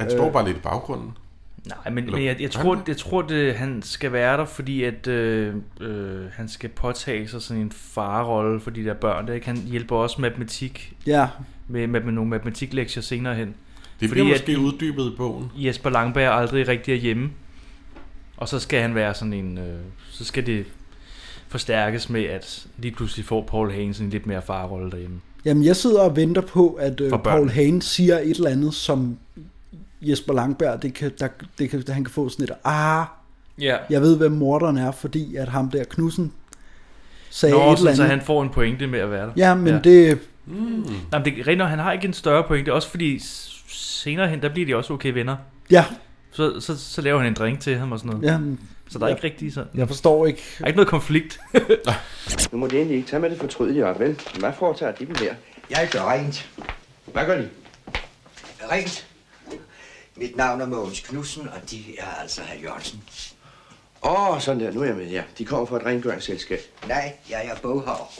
Øh. Han står bare lidt i baggrunden. Nej, men, men jeg, jeg tror, jeg tror det, han skal være der, fordi at øh, øh, han skal påtage sig sådan en farerolle for de der børn. Der, ikke? Han hjælper også matematik Ja. med, med, med nogle matematiklektier senere hen. Det bliver måske uddybet i bogen. Jesper Langberg aldrig rigtig er hjemme. Og så skal han være sådan en... Øh, så skal det forstærkes med, at lige pludselig får Paul Hagen en lidt mere farerolle derhjemme. Jamen, jeg sidder og venter på, at øh, For børn. Paul Hagen siger et eller andet, som Jesper Langberg, det kan, der, det kan, han kan få sådan et, ah, Ja. jeg ved, hvem morderen er, fordi at ham der Knudsen sagde Nå, et eller sådan, så andet. han får en pointe med at være der. Ja, men det... Mm. Jamen, det er rigtigt, nok, han har ikke en større pointe, også fordi s- senere hen, der bliver de også okay venner. Ja. Så, så, så laver han en drink til ham og sådan noget. Ja. Så der er Ja. ikke rigtig sådan... Jeg forstår ikke. Der er ikke noget konflikt. Nu må det endelig ikke tage med det fortrydelige op, vel? Hvad foretager de dem her? Jeg gør rent. Hvad gør de? Rent. Mit navn er Mogens Knudsen, og de er altså herr Jørgensen. Åh, oh, sådan der. Nu er jeg med her. De kommer fra et rengøringsselskab. Nej, jeg er bogholder.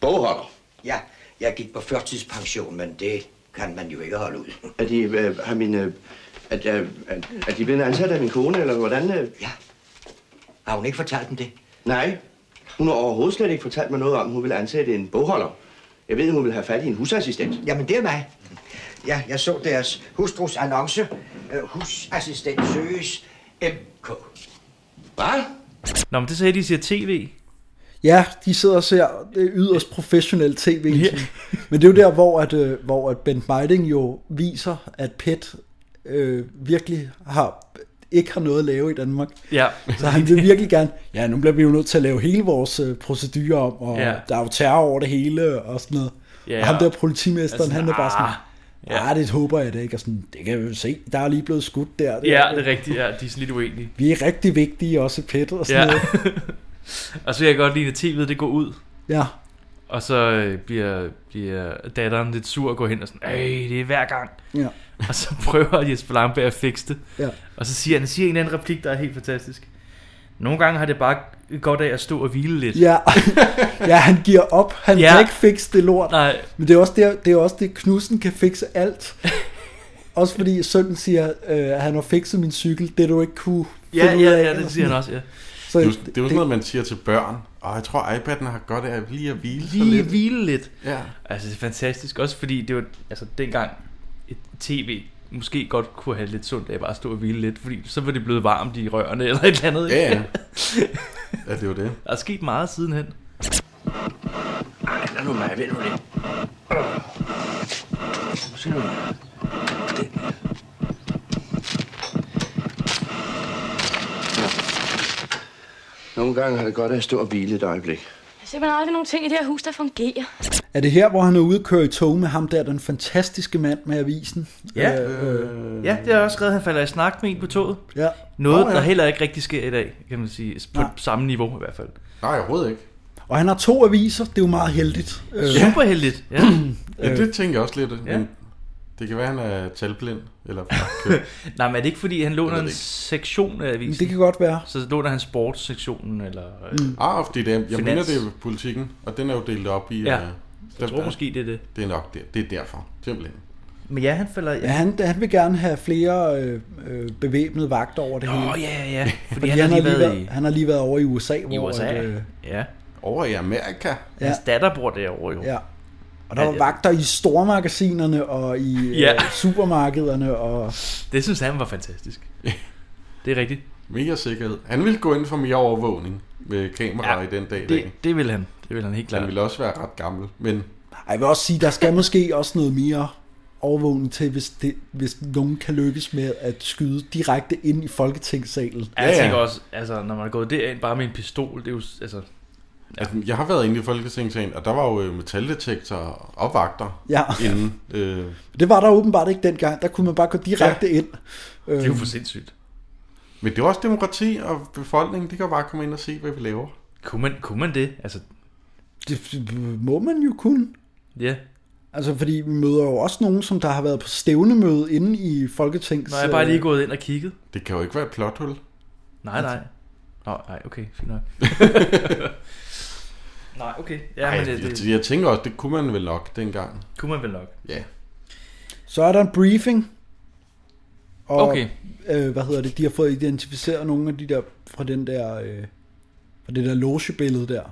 Bogholder. Ja, jeg gik på førtidspension, men det kan man jo ikke holde ud. Er de, øh, har min, øh, at, øh, er, er de blevet ansat af min kone, eller hvordan? Øh? Ja. Har hun ikke fortalt dem det? Nej. Hun har overhovedet slet ikke fortalt mig noget om, at hun vil ansætte en bogholder. Jeg ved, hun vil have fat i en husassistent. Jamen, det er mig. Ja, jeg så deres hustrus annonce. Øh, Husassistent søges MK. Hvad? Nå, men det sagde de siger tv. Ja, de sidder og ser det yderst professionelt tv. Yeah. Men det er jo der, hvor, at, øh, hvor at Bent Meiding jo viser, at PET øh, virkelig har, ikke har noget at lave i Danmark. Ja. Så han vil virkelig gerne, ja, nu bliver vi jo nødt til at lave hele vores øh, procedurer om, og Ja. ja. der er jo terror over det hele og sådan noget. Ja, Ja, og ham der og- politimesteren, altså, altså, han er bare ah, sådan, ja, det håber jeg da ikke, og sådan, det kan vi jo se, der er lige blevet skudt der. Ja, det er rigtigt. Ja, de er sådan lidt uenige. Vi er rigtig vigtige også i PET og sådan Ja. ja. noget. og så kan jeg godt lide, at tv'et det går ud. Ja. Og så øh, bliver, bliver datteren lidt sur og går hen og sådan, Øj, det er hver gang. Ja. Og så prøver Jesper Langberg at fikse det. Ja. Og så siger han, han siger en eller anden replik, der er helt fantastisk. Nogle gange har det bare godt af at stå og hvile lidt. Ja, ja han giver op. Han Ja. ja. kan ikke fikse det lort. Nej. Men det er også det, det, er også det Knudsen kan fikse alt. også fordi sønnen siger, øh, han har fikset min cykel, det du ikke kunne Ja, finde ud ja, af, ja, eller det sådan siger han noget. også, ja. Så, Så det, er det- jo- det er jo sådan Øh, det- noget, man siger til børn. Og jeg tror, iPad'en har godt af lige at hvile sig lige lidt. lidt. hvile lidt. Ja. Altså, det er fantastisk. Også fordi det var, altså, dengang et tv måske godt kunne have lidt sundt af at bare stå og hvile lidt, fordi så var det blevet varmt i rørene eller et eller andet. Ja, ja. Ja, det var det. Der er sket meget sidenhen. Ej, lad nu mig, ved du det? Øh. Se nu her. Det. Nogle gange har det godt af at stå og hvile et øjeblik. Der er simpelthen aldrig nogen ting i det her hus, der fungerer. Er det her, hvor han er ude og køre i tog med ham der, den fantastiske mand med avisen? Ja. Øh, øh, Ja, det er også skrevet, at han falder i snak med en på toget. Ja. Noget, Nå, ja. der heller ikke rigtig sker i dag, kan man sige. På Nej. samme niveau i hvert fald. Nej, overhovedet ikke. Og han har to aviser, det er jo meget heldigt. Øh, Super heldigt. Ja. ja, det tænker jeg også lidt. Ja. Men det kan være, han er talblind. Eller Nej, men er det ikke, fordi han låner ved en det ikke. sektion af avisen? Det kan godt være. Så låner han sportssektionen, eller... øh, Mm. Ah, fordi det er, jeg mener, Finans. det er politikken, og den er jo delt op i... Ja. øh, Jeg tror måske, det er det. Det er nok der. Det er derfor, simpelthen. Men ja, han falder... Ja, han, han vil gerne have flere øh, øh, bevæbnede vagter over det hele. Åh, ja, ja, ja. Fordi Fordi han han, har har lige lige været været, i- han har lige været over i USA. I hvor, USA. At, øh, ja. Over i Amerika. Ja. Hans datter bor derovre jo. Ja. og der var vagter i stormagasinerne og i øh, Ja. supermarkederne. Og, Det synes han var fantastisk. Det er rigtigt. Mega sikkerhed. Han ville gå ind for mere overvågning med kameraer ja, i den dag. i det- dag. det vil han. Det vil han helt klart. Han ville også være ret gammel, men Ej, jeg vil også sige, der skal måske også noget mere overvågning til, hvis, det, hvis nogen kan lykkes med at skyde direkte ind i Folketingssalen. Ja, jeg tænker også, altså, når man er gået derind bare med en pistol, det er jo... Altså, Altså, jeg har været inde i Folketingssalen, og der var jo øh, metaldetektorer og vagter Ja. inden. Øh, Det var der åbenbart ikke dengang. Der kunne man bare gå direkte ja. ind. Det er jo Øhm, for sindssygt. men det er også demokrati, og befolkningen, de kan jo bare komme ind og se, hvad vi laver. Kunne man, kunne man det? Altså, Det må man jo kun. ja. Altså, fordi vi møder jo også nogen, som der har været på stævnemøde inde i Folketings... Når jeg bare lige gået ind og kigget. Det kan jo ikke være et plothul. Nej, nej. Nå, nej, okay, fint nok. nej, okay. Ja, Ej, men det, jeg, det, jeg, tænker også, det kunne man vel nok dengang. kunne man vel nok. Ja. Så er der en briefing, Og, Okay. øh, hvad hedder det, de har fået identificeret nogle af de der, fra den der, øh, fra det der logebillede der.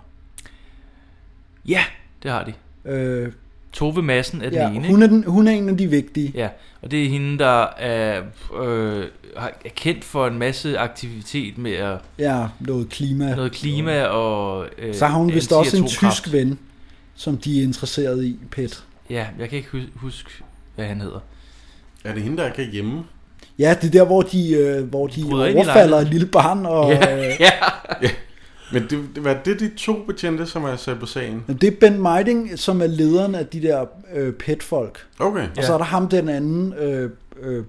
Ja, det har de. Øh, Tove Madsen er den ja, ene. ikke? hun, er den, hun er en af de vigtige. Ja, og det er hende, der er, øh, har- er kendt for en masse aktivitet med at, Ja, noget klima. noget klima og... Øh, Så har hun vist også en anti-atomkraft. tysk ven, som de er interesseret i, Pet. Ja, jeg kan ikke hu- huske, hvad han hedder. Er det hende, der kan hjemme? Ja, det er der, hvor de, øh, hvor de Bryder ind i overfalder et lejligheden. lille barn. Og, øh, ja. Men det, det, var det de to betjente, som er sat på sagen? Jamen, Det er Ben Meiding, som er lederen af de der øh, PET-folk. Okay. Altså, Og så er der ham den anden. Øh, øh,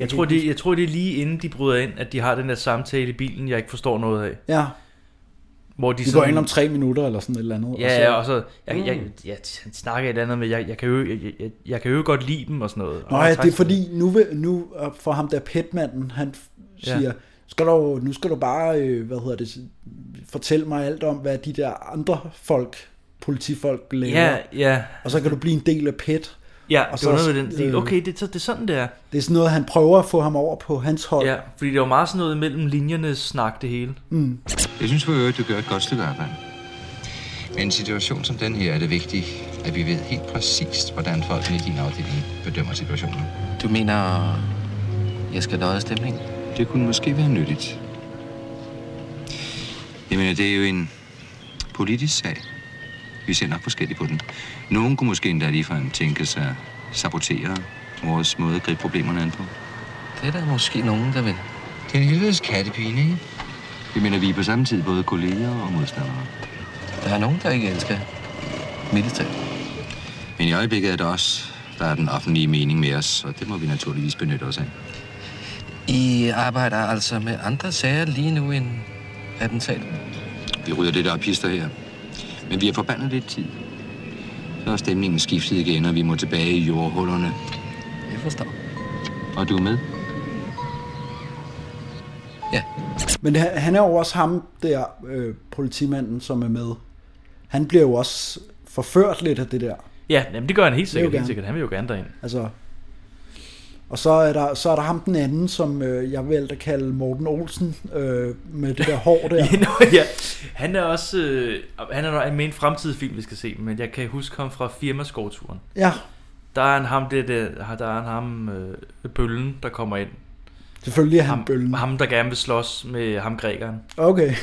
Jeg tror, det, jeg tror, det er lige inden de bryder ind, at de har den der samtale i bilen, jeg ikke forstår noget af. Ja. Hvor de, de, de går sådan- ind om tre minutter eller sådan et eller andet. Ja, og så, jeg, jeg, jeg, jeg han snakker et eller andet med, jeg, jeg, kan jo, jeg, jeg, jeg kan jo godt lide dem og sådan noget. Nå Og ja, tak- det er fordi, nu, vil, nu øh, for ham der petmanden, han f- Ja. siger, ja. skal du, nu skal du bare, øh, hvad hedder det, fortælle mig alt om, hvad de der andre folk, politifolk laver. Ja, ja. Og så kan du blive en del af pet. Ja, det var noget med den øh. stil. Okay, det, er så- det er sådan, det er. Det er sådan noget, han prøver at få ham over på hans hold. Ja, fordi det var meget sådan noget mellem linjerne snak det hele. Mm. Jeg synes for øvrigt, du gør et godt stykke arbejde. Men i en situation som den her er det vigtigt, at vi ved helt præcist, hvordan folkene i din afdeling bedømmer situationen. Du mener, jeg skal lodde stemning? Det kunne måske være nyttigt. Jeg mener, det er jo en politisk sag. Vi ser nok forskelligt på den. Nogen kunne måske endda ligefrem tænke sig at sabotere vores måde at gribe problemerne an på. Det er der måske nogen, der vil. Det er en helvedes kattepine, ikke? Jeg mener, vi er på samme tid både kolleger og modstandere. Der er nogen, der ikke elsker. Militær. Men i øjeblikket er det os, der er den offentlige mening med os, og det må vi naturligvis benytte os af. I arbejder altså med andre sager lige nu end attentatet. Vi rydder lidt op pister her. Men vi har forbandet lidt tid. Så er stemningen skiftet igen, og vi må tilbage i jordhullerne. Jeg forstår. Og du er med? Men han han er jo også ham der, øh, politimanden, som er med. Han bliver jo også forført lidt af det der. Ja, jamen, det gør han helt Det vil sikkert, gerne. helt sikkert. Han vil jo gerne derind. Altså, og så er, der, så er der ham den anden, som øh, jeg valgte at kalde Morten Olsen, øh, med det der hår der. Ja, nå, ja. Han er også øh, han er nok med i en fremtidig film, vi skal se, men jeg kan huske ham fra firmaskovturen. Ja. Der er en ham, det, der, der er en ham, øh, bøllen, der kommer ind. Selvfølgelig er han ham, bøllen. Ham, der gerne vil slås med ham grækeren. Okay.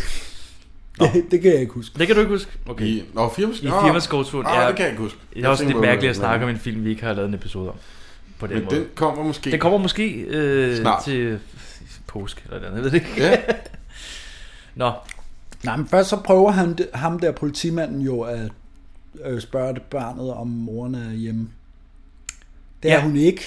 Det, det kan jeg ikke huske. Det kan du ikke huske? Okay. I- nå, firmas- I nå. firmaskovturen. Ah, det kan jeg ikke huske. Det er Jeg også tænker lidt på- mærkeligt at snakke om en film, vi ikke har lavet en episode om. På den Men måde. den kommer måske- Den kommer måske øh, Snart. til påske eller et eller andet, jeg ved det ikke. Ja. Nå, Nej, men først så prøver han, det- ham der politimanden jo at øh, spørge det barnet, om moren er hjemme. Det er Ja. hun ikke.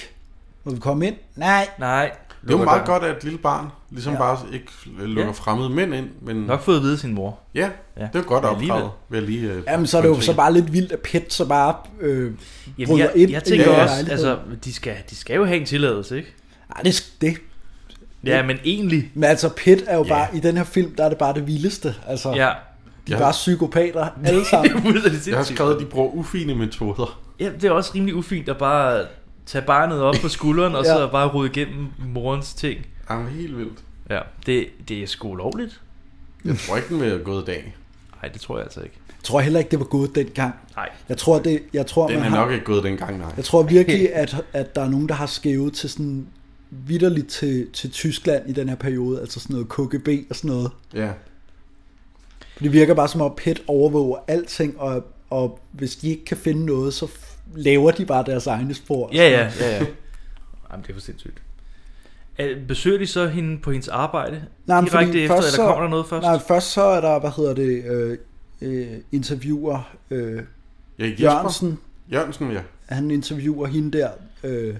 Må vi komme ind? Nej. Nej. Det er jo Lukker meget døren. godt, at et lille barn ligesom Ja. ja. bare ikke lukker Ja. ja. fremmede mænd ind. Men... Nok fået at vide af sin mor. Ja, Ja. ja. det er godt Men opdraget. alligevel. Vil jeg lige, øh, Jamen, så er det jo så pointere. bare lidt vildt, at Pet så bare øh, Jamen, bryder jeg, ind. jeg i tænker den også, lejlighed. altså, de skal, de skal jo have en tilladelse, ikke? Ej, det, sk- det. Ja, men egentlig... Men altså, Pet er jo bare, i den her film, der er det bare det vildeste. Altså, Ja. de er Ja. bare psykopater, alle sammen. Jeg har skrevet, at de bruger ufine metoder. Ja, det er også rimelig ufint at bare tage barnet op på skulderen, og Ja. så bare rode igennem morens ting. Jamen, helt vildt. Ja, det, det er sgu ulovligt. Jeg tror ikke, den vil have gået i dag. Nej, det tror jeg altså ikke. Jeg tror heller ikke, det var gået dengang. Nej. Jeg tror, det, jeg tror, Den man er har, nok ikke gået dengang, nej. Jeg tror virkelig, at, at der er nogen, der har skævet til sådan vidderligt til, til Tyskland i den her periode, altså sådan noget KGB og sådan noget. Ja. For det virker bare som om PET overvåger alting, og, og hvis de ikke kan finde noget, så f- laver de bare deres egne spor. Ja, ja, ja, ja. Jamen, det er for sindssygt. Øh, Besøger de så hende på hendes arbejde Nej, men direkte fordi efter, først eller kommer der noget først? Nej, først så er der, hvad hedder det, øh, øh, interviewer øh, Ja, Jesper. Jørgensen. Jørgensen, ja. Han interviewer hende der, øh,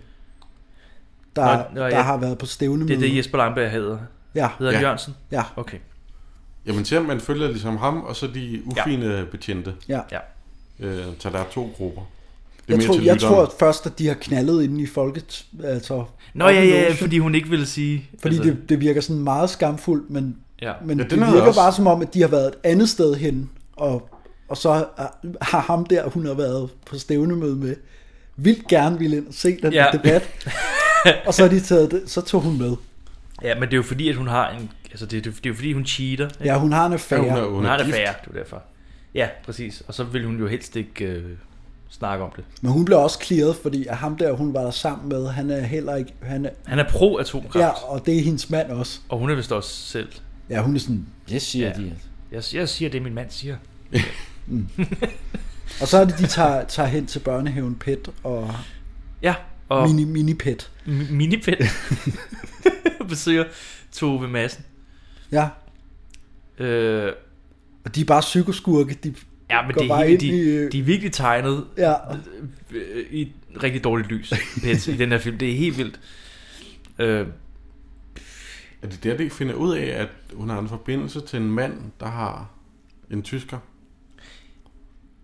der, Nå, nå, der ja. har været på stævne Det er det, Jesper Langberg hedder. Ja. Hedder han Ja. Jørgensen? Ja. Okay. Jamen, til man følger ligesom ham, og så de ufine ja. betjente. Ja. ja. Øh, så der er to grupper. Det er Jeg mere tror, til jeg lytteren. tror at først, at de har knaldet inde i folket. Altså, Nå, op i ja, ja, logen. fordi hun ikke ville sige... Fordi altså, det, det virker sådan meget skamfuldt, men, Ja. men Ja, det den havde jeg virker også. bare som om, at de har været et andet sted hen, og, og så har- har ham der, hun har været på stævnemøde med, vildt gerne ville ind og se den Ja. ja. debat. og så, er de taget det, så tog hun med. Ja, men det er jo fordi, at hun har en... Altså, det, er- det er jo fordi, hun cheater. ikke? Ja, hun har en affære. Ja, hun er- hun hun er har en gift. affære, det er derfor. Ja, præcis. Og så vil hun jo helst ikke øh, snakke om det. Men hun blev også clearet, fordi at ham der, hun var der sammen med, han er heller ikke... Han er, Han er pro-atomkraft, ja. ja, og det er hendes mand også. og hun er vist også selv. Ja, hun er sådan... Det siger ja. de. Jeg, jeg siger det, min mand siger. Mm. og så er det, de tager, tager hen til børnehaven Pet og... Ja, og- Mini, mini Pet. Mi- Minipet besøger Tove Madsen. Ja. Øh, Og de er bare psykoskurke. De ja, men går det er, bare helt, ind øh- de, de er virkelig tegnet Ja. øh, i et rigtig dårligt lys Pet, i den her film. Det er helt vildt. Øh, Er det der, de finder ud af, at hun har en forbindelse til en mand, der har en tysker?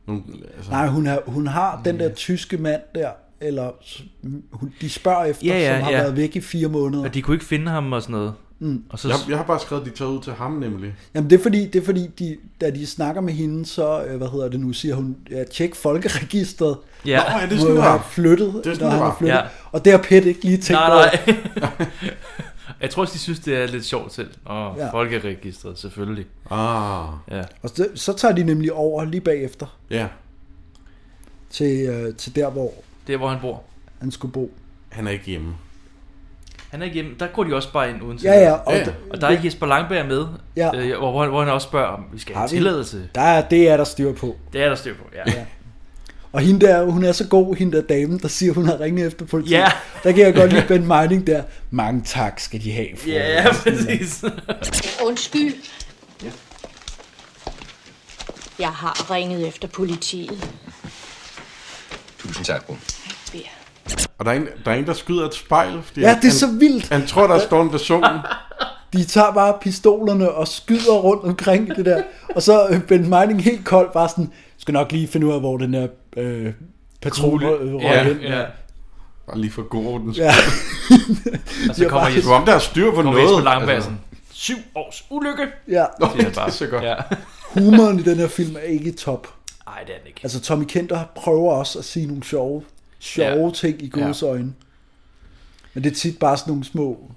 Hun, altså, Nej, hun har, hun har den der tyske mand der, eller s- hun, de spørger efter, Ja, ja, som har ja. været væk i fire måneder. og de kunne ikke finde ham og sådan noget. Mm. Og jeg, jeg har bare skrevet, at de tager ud til ham nemlig. Jamen det er fordi, det er fordi de, da de snakker med hende, så, øh, hvad hedder det nu, siger hun, ja, tjek folkeregisteret. Ja. Nå, ja, det er sådan, Hvor det han var. er flyttet, Det er sådan, når det han er var. flyttet. Ja. Og det har Pet ikke lige tænkt Nej, over. nej. jeg tror også, de synes, det er lidt sjovt selv. Og Ja. ja. folkeregistret, selvfølgelig. Ah. Ja. Og så, så tager de nemlig over lige bagefter Ja. til, øh, til der, hvor Det er, hvor han bor. han skulle bo. Han er ikke hjemme. Han er ikke hjemme. Der går de også bare ind uden Ja, ja, og Og, d- og der er Jesper Langberg med, Ja. øh, hvor, hvor, hvor han også spørger, om vi skal have Har vi- tilladelse. Der er, det er der styr på. Det er der styr på, ja. ja. Og hende der, hun er så god, hende der dame, der siger, hun har ringet efter politiet. Ja. Der kan jeg godt lide Ben Meining der. Mange tak skal de have. fru." Ja, præcis. Undskyld. Ja. Jeg har ringet efter politiet. Tusind tak, Bo. Bea. Og der er, en, der er en, der skyder et spejl. Fordi Ja, det er han, så vildt. Han tror, der står en person. De tager bare pistolerne og skyder rundt omkring det der. Og så øh, Ben Meining helt kold bare sådan, skal nok lige finde ud af, hvor den der øh, patron røg røg hen. Bare lige for god ordens Ja. skyld. Og så De har kommer bare- Jes- Du om der er styr på kommer noget. Altså, Jesper Langberg sådan, Syv års ulykke. Ja. Nå, Siger han det er så godt. Ja. Humoren i den her film er ikke i top. Nej, det er den ikke. Altså Tommy Kenter prøver også at sige nogle sjove, sjove ja. ting i godes ja. øjne. Men det er tit bare sådan nogle små...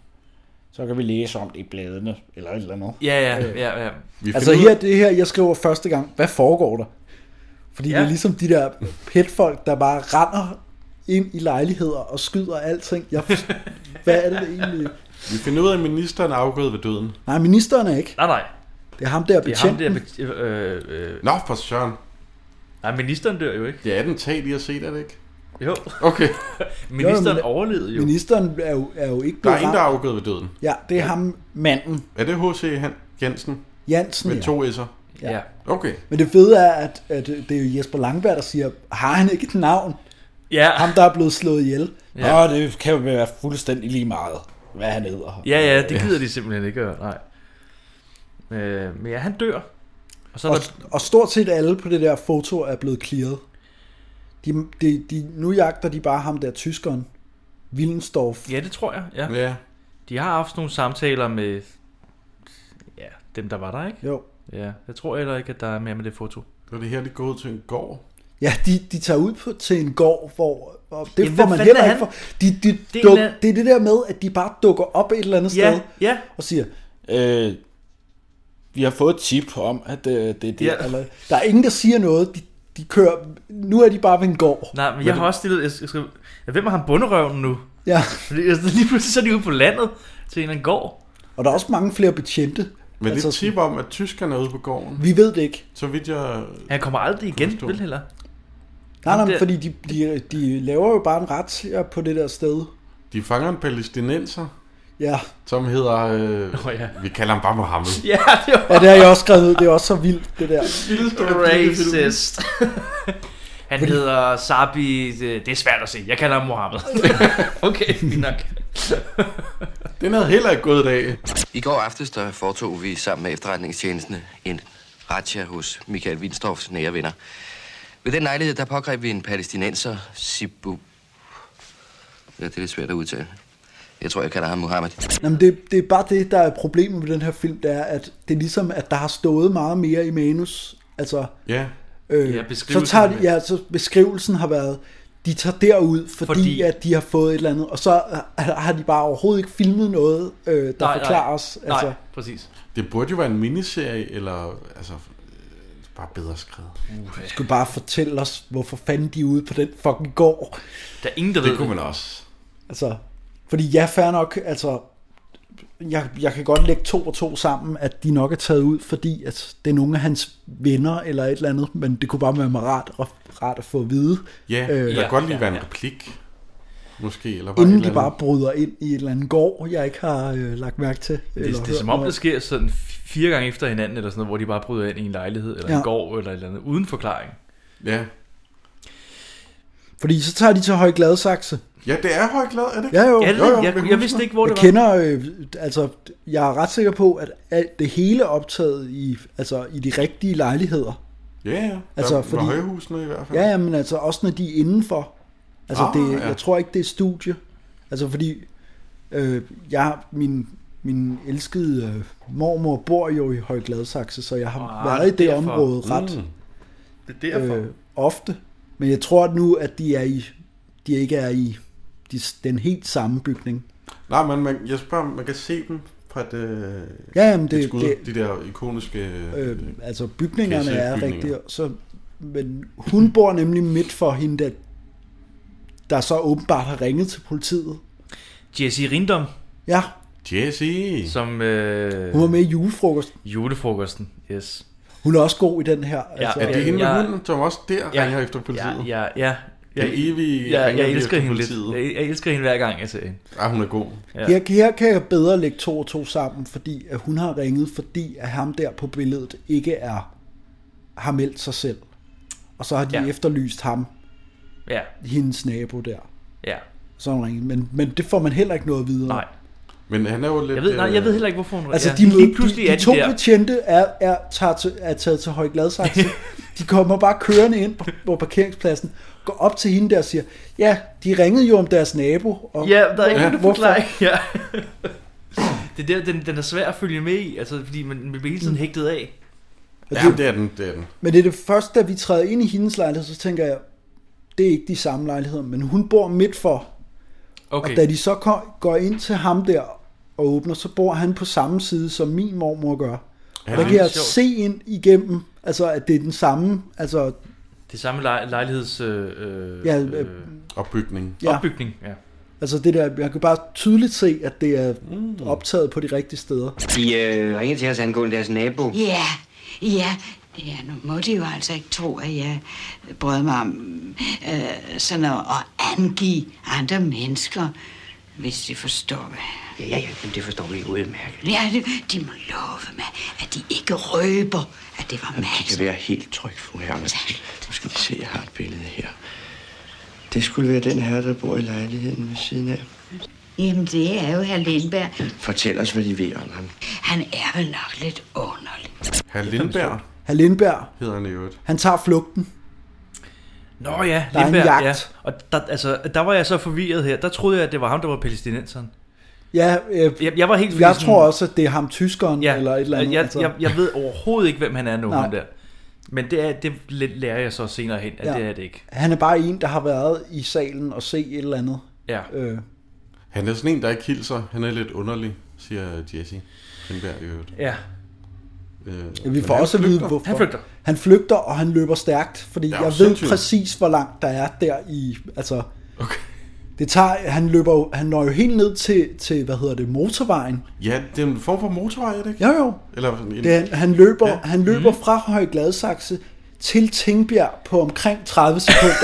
Så kan vi læse om det i bladene, eller et eller andet. Ja, ja, ja, ja. Vi altså her, det her, jeg skriver første gang, hvad foregår der? Fordi ja. det er ligesom de der petfolk, der bare render ind i lejligheder og skyder alting. Jeg, hvad er det der egentlig? Vi finder ud af, at ministeren er afgået ved døden. Nej, ministeren er ikke. Nej, nej. Det er ham der Det er ham betjenten. der... bet- Øh, øh, Nå, for søren. Nej, ministeren dør jo ikke. Det er den tag, de har set, er det ikke? Jo. Okay. ministeren Jo, jo, men- overlevede jo. Ministeren er jo, er jo ikke Der er blevet en, der er ramt. afgået ved døden. Ja, det er ham manden. Er det H.C. Han- Jensen? Jansen, Med ja. to S'er? Ja. Okay. Men det fede er, at, at det er jo Jesper Langberg, der siger, har han ikke et navn? Ja. Ham, der er blevet slået ihjel. Ja. Nå, det kan jo være fuldstændig lige meget, hvad han hedder. Ja, ja, det gider de simpelthen ikke gøre, nej. Øh, men ja, han dør. Og så er og, der... og stort set alle på det der foto er blevet clearet. De, de, de, nu jagter de bare ham der tyskeren. Willensdorf. Ja, det tror jeg, ja. ja. De har haft nogle samtaler med ja, dem, der var der, ikke? Jo. Ja, jeg tror heller ikke, at der er mere med det foto. Var det her, det går ud til en gård? Ja, de, de tager ud på, til en gård, hvor og det Jamen, får hvad man fanden heller er ikke han? for. De, de, Det det, er en duk, af- det er det der med, at de bare dukker op et eller andet Ja, sted ja. og siger, øh, vi har fået et tip om, at øh, det er det. Ja. Eller, der er ingen, der siger noget. De, de kører, nu er de bare ved en gård. Nej, men, jeg har også stillet... Jeg skal, jeg skal, ja, hvem er ham bunderøven nu? Ja. Fordi altså, lige pludselig så er de ude på landet til en eller anden gård. Og der er også mange flere betjente. Men altså, det tip om, at tyskerne er ude på gården. Vi ved det ikke. Så vidt jeg... Han kommer aldrig igen, vel heller? Nej, nej, Jamen, men det- fordi de, de, de laver jo bare en ret på det der sted. De fanger en palæstinenser, Ja, som hedder... Øh, oh, ja. Vi kalder ham bare Mohammed. Ja, det var... ja det har jeg også skrevet ned. Det er også så vildt, det der. Racist. Han hedder Sabi... Det er svært at se. Jeg kalder ham Mohammed. okay, fint nok. Den havde heller ikke gået i dag. I går aftes der foretog vi sammen med efterretningstjenestene en razzia hos Michael Windstorffs nære venner. Ved den lejlighed, der pågreb vi en palæstinenser, Sibu. Ja, det er lidt svært at udtale. Jeg tror, jeg kalder ham Mohammed. Jamen, det, det er bare det, der er problemet med den her film, det er, at det er ligesom, at der har stået meget mere i manus. Altså, Ja. øh, Ja, så, beskrivelsen tager de, har ja, så beskrivelsen har været, De tager derud, fordi, fordi at de har fået et eller andet, og så har- har de bare overhovedet ikke filmet noget, øh, der Nej, nej. forklarer os. Altså, Nej, præcis. Det burde jo være en miniserie, eller altså, øh, bare bedre skrevet. Du skulle bare fortælle os, hvorfor fanden de er ude på den fucking gård. Der er ingen, der det ved kunne det. man også. Altså, fordi ja, fair nok, altså, jeg, jeg kan godt lægge to og to sammen, at de nok er taget ud, fordi at det er nogle af hans venner eller et eller andet, men det kunne bare være meget rart, at- rart at få at vide. Ja, øh, der kan godt lige være en replik. Måske, eller bare et Inden eller de bare andet. bryder ind i et eller andet gård, jeg ikke har øh, lagt mærke til. Det, det er hørt som om, noget det sker sådan fire gange efter hinanden, eller sådan noget, hvor de bare bryder ind i en lejlighed, eller ja. Ja. en gård, eller et eller andet, uden forklaring. Ja. Fordi så tager de til Høje Gladsaxe. Ja, det er Højglad, er det Ja, jo. Er det jo, det? jo. Jeg- jeg vidste ikke, hvor det jeg var. kender, øh, altså, jeg er ret sikker på, at alt det hele er optaget i, altså, i de rigtige lejligheder. Ja, ja. Der Altså, var fordi- højhusene i hvert fald. Ja, ja, men altså også når de er indenfor. Altså, Ah, ah, det, ja. ja. jeg tror ikke, det er studie. Altså, fordi øh, jeg, min, min elskede øh, mormor bor jo i Høje Gladsaxe, så jeg har Ah, ah, været i det derfor. område ret Mm. Det er derfor. øh, ofte. Men jeg tror at nu, at de er i, de ikke er i de, den helt samme bygning. Nej, men man, jeg spørger, om man kan se dem fra et, øh, Ja, jamen, det- et skud, det- de der ikoniske... Øh, altså bygningerne er kassettebygninger. rigtige. Så, men hun bor nemlig midt for hende, der, der så åbenbart har ringet til politiet. Jesse Rindom. Ja, Jesse. Som øh, hun var med i julefrokosten. julefrokosten, yes. Hun er også god i den her. altså, Ja, Er det hende med Jeg- hunden, som også der ja, ringer efter politiet? Ja, ja. ja. Den evige ja, jeg, ringer jeg lige elsker efter hende lidt. politiet. Jeg, jeg, elsker hende hver gang, jeg ser hende. Ja, hun er god. Ja. Her, her kan jeg bedre lægge to og to sammen, fordi at hun har ringet, fordi at ham der på billedet ikke er har meldt sig selv. Og så har de ja. efterlyst ham, Ja, hendes nabo der. ja. Så har hun ringet. Men, men det får man heller ikke noget videre. Nej. Men han er jo lidt... Jeg ved, nej, øh, jeg ved heller ikke, hvorfor hun Altså, ja. de, lige pludselig de, de, er de to de der. betjente er, er, tager til, er taget til Høje Gladsaxe. de kommer bare kørende ind på, på parkeringspladsen, går op til hende der og siger, ja, de ringede jo om deres nabo. Og Ja, der er ikke nogen Hvorfor? forklaring. Ja. det er der, den, den er svær at følge med i, altså, fordi man, man bliver hele Mm. tiden hægtet af. Ja, det er den, det er den. Men det er det første, da vi træder ind i hendes lejlighed, så tænker jeg, det er ikke de samme lejligheder, men hun bor midt for. Okay. Og da de så kom- går ind til ham der og åbner, så bor han på samme side, som min mormor gør. Ja, Ja, der det kan er jeg sjovt. se ind igennem, altså at det er den samme, altså Det samme lej- lejligheds... Øh, øh, Ja, øh, øh, Opbygning. Ja. Opbygning, ja. Altså det der, jeg kan bare tydeligt se, at det er optaget på de rigtige steder. De øh, ringede til os angående deres nabo. Ja, ja. Ja, nu må de jo altså ikke tro, at jeg brød mig om øh, sådan at, at angive andre mennesker, hvis de forstår mig. Ja, ja, ja, jamen, det forstår vi udmærket. Ja, de, de må love mig, at de ikke røber, at det var I Mads. kan være helt tryg, fru Andersen. Nu skal vi se, jeg har et billede her. Det skulle være den her, der bor i lejligheden ved siden af. Jamen, det er jo herr Lindberg. Fortæl os, hvad de ved om ham. Han er vel nok lidt underlig. Herr Lindberg Herr Lindberg, hedder han i øvrigt. han tager flugten. Nå ja, Der er en Lindberg, jagt. ja. Og der, altså, der var jeg så forvirret her. Der troede jeg, at det var ham, der var palæstinenseren. Ja, øh, Jeg, jeg var helt jeg sådan- tror også, at det er ham tyskeren ja, eller et eller andet. Jeg, altså. jeg, jeg ved overhovedet ikke, hvem han er nu, Nej. ham der. Men det, er, det læ- lærer jeg så senere hen, at ja. det er det ikke. Han er bare en, der har været i salen og se et eller andet. Ja. Øh, Han er sådan en, der ikke hilser. Han er lidt underlig, siger Jesse Lindberg i øvrigt. Ja. Mm. Øh, vi men får han også at vide, flygter. hvorfor. Han flygter, og han løber stærkt, fordi Ja, jeg ved sindssygt. præcis, hvor langt der er der i... Altså, okay. Det tager, han løber, jo- han når jo helt ned til, til, hvad hedder det, motorvejen. Ja, det er en form for motorvej, er det ikke? Jo, jo. Eller sådan en... Det, er- han løber, ja. han løber mm. fra Høje Gladsaxe til Tingbjerg på omkring 30 sekunder.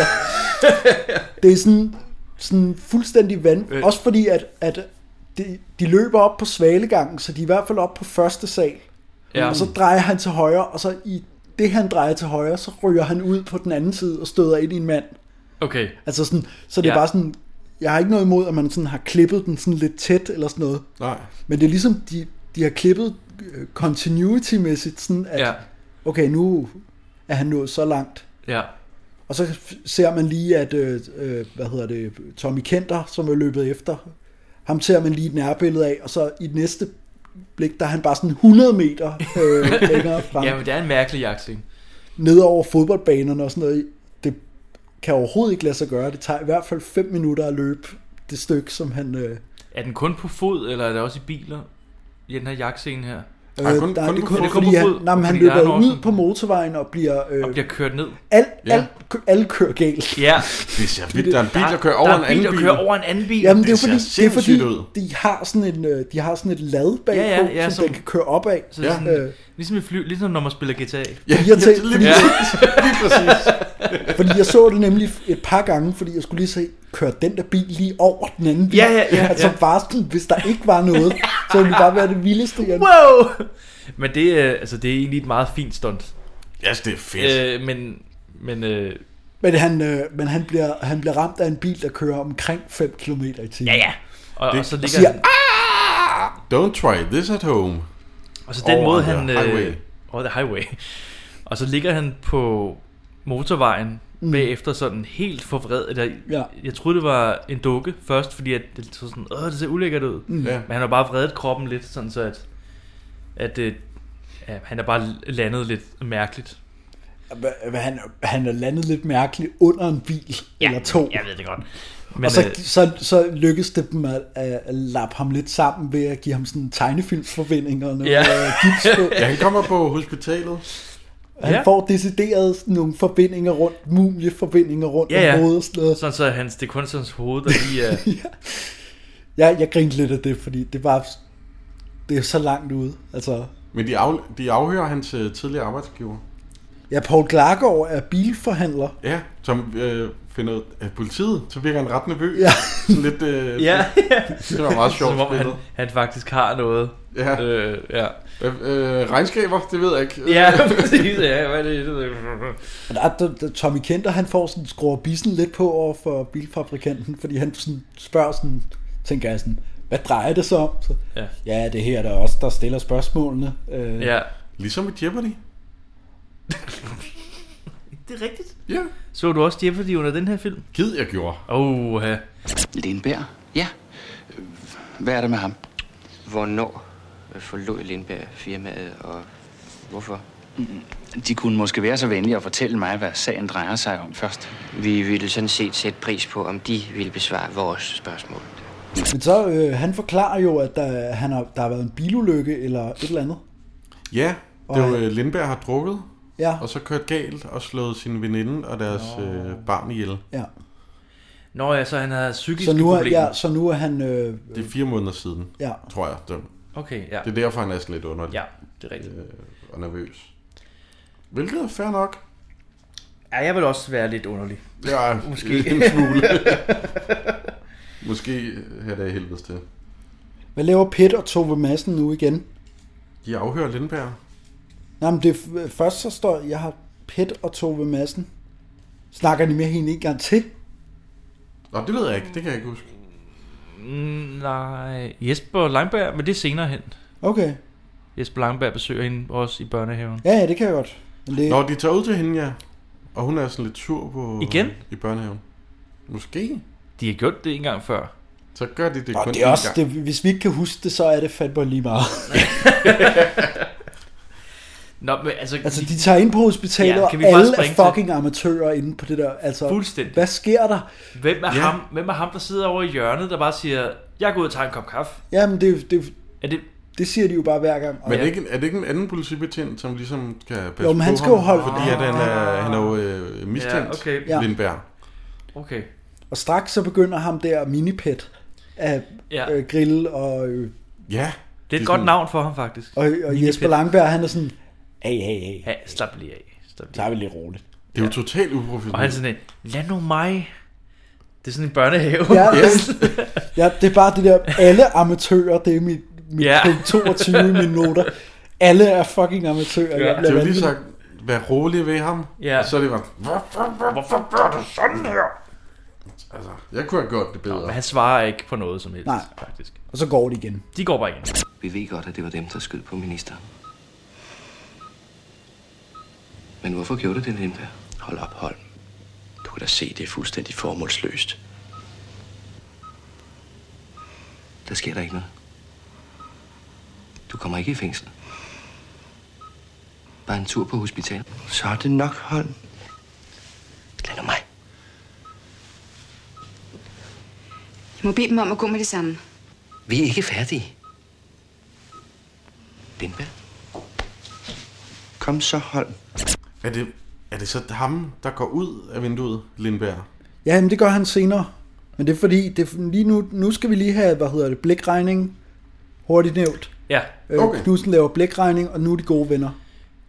det er sådan, sådan fuldstændig vand. Øh. Også fordi, at, at de, de løber op på Svalegangen, så de er i hvert fald op på første sal. Ja. Og så drejer han til højre, og så i det, han drejer til højre, så ryger han ud på den anden side og støder ind i en mand. Okay. Altså sådan, så det er Ja. bare sådan, jeg har ikke noget imod, at man sådan har klippet den sådan lidt tæt eller sådan noget. Nej. Men det er ligesom, de, de har klippet øh, continuity-mæssigt, sådan at, Ja. ja. okay, nu er han nået så langt. Ja. Og så f- ser man lige, at, øh, øh, hvad hedder det, Tommy Kenter, som er løbet efter, ham ser man lige et nærbillede af, og så i det næste blik, der er han bare sådan 100 meter øh, længere frem, Ja, men det er en mærkelig jagtscene. ned over fodboldbanerne og sådan noget. Det, kan overhovedet ikke lade sig gøre. Det tager i hvert fald 5 minutter at løbe det stykke, som han... Øh, Er den kun på fod, eller er det også i biler? I den her jagtscene her. øh, der er det kun, fordi han, nej, men han fordi der er løber en ud på motorvejen og bliver... Øh, og bliver kørt ned. Alt, Ja. ja. alt, alle kører galt. Ja. Det ser vildt. Der er en bil, der kører over en anden Der er en bil, der kører over en anden bil. Jamen, det, er jo ser fordi, det er fordi sindssygt ud. de har sådan en, øh, de har sådan et lad bagpå, Ja, ja, ja, som, den kan køre op af. Så ja. sådan, ligesom, i fly, ligesom når man spiller GTA. Ja, jeg tænkte, øh, fordi, fordi jeg så det nemlig et par gange, fordi jeg skulle lige se, kørte den der bil lige over den anden bil? Ja, ja, ja, altså ja. bare sådan, hvis der ikke var noget, så ville det bare være det vildeste. Jeg... Wow! Men det, øh, altså, det er egentlig et meget fint stunt. Ja, yes, det er fedt. Øh, men, men øh, Men, han, øh, men han, bliver, han bliver ramt af en bil, der kører omkring 5 km i timen. Ja, ja. Og, Det- og så Og ligger siger, han, Don't try this at home. og så den Over måde, the han... highway. Øh, over the highway. Og så ligger han på motorvejen mm. Mm. bagefter sådan helt forvredet. Eller, ja. Ja. Jeg troede, det var en dukke først, fordi at det, så sådan, Åh, det ser ulækkert ud. Mm. Ja. Men han har bare vredet kroppen lidt, sådan så at, at øh, ja, han er bare landet lidt mærkeligt. Hva- hva- Han, han er landet lidt mærkeligt under en bil ja, eller to. Jeg ved det godt. Men, og så, øh, så, så lykkes det dem at, at, at lappe ham lidt sammen ved at give ham sådan en tegnefilmsforvinding og noget Ja. ja. gips på. Ja, han kommer på hospitalet. Han Ja. får decideret sådan nogle forbindinger rundt, mumieforbindinger rundt ja, om ja. hovedet og sådan noget. Sådan så hans, det er kun sådan hans hoved, der lige er... Jeg, jeg grinte lidt af det, fordi det var det er så langt ude. Altså, Men de, af, de afhører hans øh, tidligere arbejdsgiver. ja, Paul Klargaard er bilforhandler. Ja, som øh, finder ud af politiet. Så virker han ret nervøs. Ja. Sådan lidt... Øh, ja, ja. Det var meget sjovt Som om han, spillet. han faktisk har noget. Ja. Øh, ja. Øh, øh, regnskaber, det ved jeg ikke. Ja, præcis. Ja, hvad er det? det ved jeg. Og der, der, der, Tommy Kenter, han får sådan, skruer bissen lidt på over for bilfabrikanten, fordi han sådan, spørger sådan, tænker jeg sådan, hvad drejer det så om? Så, Ja. ja, det her der er også der stiller spørgsmålene. Øh, Ja. Ligesom i Jeopardy. Det er rigtigt. Ja. Så du også Jeopardy under den her film? Gid, jeg gjorde. Åh, ja. Lindberg? Ja. Hvad er der med ham? Hvornår øh, forlod Lindberg firmaet, og hvorfor? De kunne måske være så venlige at fortælle mig, hvad sagen drejer sig om først. Vi ville sådan set sætte pris på, om de ville besvare vores spørgsmål. Men så, øh, han forklarer jo, at der, han har, der har været en bilulykke eller et eller andet. Ja, Og det var han- øh, Lindberg har drukket. Ja. Og så kørt galt og slået sin veninde og deres øh, barn ihjel. Ja. Nå ja, så han har psykiske Så nu, er, problemer. ja, så nu er han... Øh, Det er fire måneder siden, Ja. tror jeg. Det, Okay, ja. det er derfor, han er sådan lidt underlig. Ja, det er rigtigt. Øh, og nervøs. Hvilket er fair nok. Ja, jeg vil også være lidt underlig. Ja, Måske. en smule. Måske øh, her der i helvedes til. hvad laver Pitt og Tove Madsen nu igen? De afhører Lindberg. Nej, men det, er f- først så står, jeg har Pitt og Tove Madsen. Snakker de med hende en gang til? Nå, det ved jeg ikke. Det kan jeg ikke huske. Mm, nej, Jesper Langberg, men det er senere hen. Okay. Jesper Langberg besøger hende også i børnehaven. Ja, ja, det kan jeg godt. Men det, Nå, de tager ud til hende, ja. Og hun er sådan lidt sur på... Igen? I børnehaven. Måske. De har gjort det en gang før. Så gør de det Nå, kun det er én også, gang. det, hvis vi ikke kan huske det, så er det fandme lige meget. Nå, men altså... altså, de tager ind på hospitalet, Ja, ja, kan og vi bare alle springe til- er fucking amatører inde på det der. Altså, Fuldstændig. Hvad sker der? Hvem er, ja. Ja. ham, hvem er ham, der sidder over i hjørnet, der bare siger, jeg går ud og tager en kop kaffe? Jamen, det, det, Er det... det siger de jo bare hver gang. Og- Men er det, ikke, er det ikke en anden politibetjent, som ligesom kan passe Jo, men han på skal ham, jo holde- Fordi at han er, han er jo øh, mistænkt, Ja, okay. Ja. Lindberg. Okay. Og straks så begynder ham der minipet at Ja. ja. øh, grille, og, øh, Ja. Det er et godt sådan- navn for ham, faktisk. og, og Jesper Langberg, han er sådan, hey, hey, hey, Ja, slap lige af. Slap så er vi lidt roligt. Det er jo totalt Og han er uprofessionelt. sådan en, lad nu mig. Det er sådan en børnehave. Ja, ja, det er bare det der, alle amatører, det er mit, mit Ja. ja. 22 minutter. Alle er fucking amatører. Ja, jeg det bliver er jo vanvittig. lige sagt, vær rolig ved ham. Ja. Og så er det bare, hvorfor, hvorfor gør du sådan her? Altså, jeg kunne have gjort det bedre. Men han svarer ikke på noget som helst, Nej. faktisk. Og så går det igen. De går bare igen. Vi ved godt, at det var dem, der skød på ministeren. Men hvorfor gjorde du det, Lindberg? Hold op, Holm. Du kan da se, det er fuldstændig formålsløst. Der sker der ikke noget. Du kommer ikke i fængsel. Bare en tur på hospitalet. Så er det nok, Holm. Lad nu mig. I må bede dem om at gå med det samme. Vi er ikke færdige. Lindberg? Kom så, Holm. Er det, er det så ham, der går ud af vinduet, Lindberg? Ja, men det gør han senere. Men det er fordi, det er, lige nu, nu skal vi lige have, hvad hedder det, blikregning. Hurtigt nævnt. Ja. Okay. Okay. Øh, Knudsen laver blikregning, og nu er de gode venner.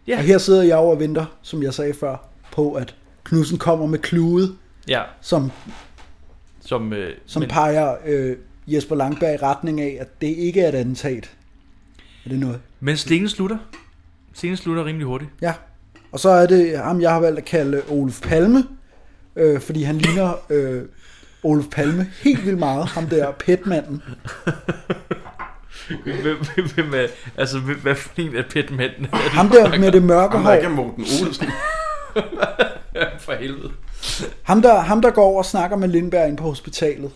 Ja. Og her sidder jeg jo og venter, som jeg sagde før, på at Knudsen kommer med klude, Ja, som, som, øh, som men... peger øh, Jesper Langberg i retning af, at det ikke er et attentat. Er det noget? men stenen slutter. Stenen slutter rimelig hurtigt. Ja. Og så er det ham, jeg har valgt at kalde Oluf Palme, øh, fordi han ligner øh, Oluf Palme helt vildt meget, ham der petmanden. Hvem, hvem, hvem er, altså, hvem, hvad for en af pitmændene? er det, Ham du der snakker med om? det mørke hår. For helvede. Ham der, ham der går over og snakker med Lindberg inde på hospitalet,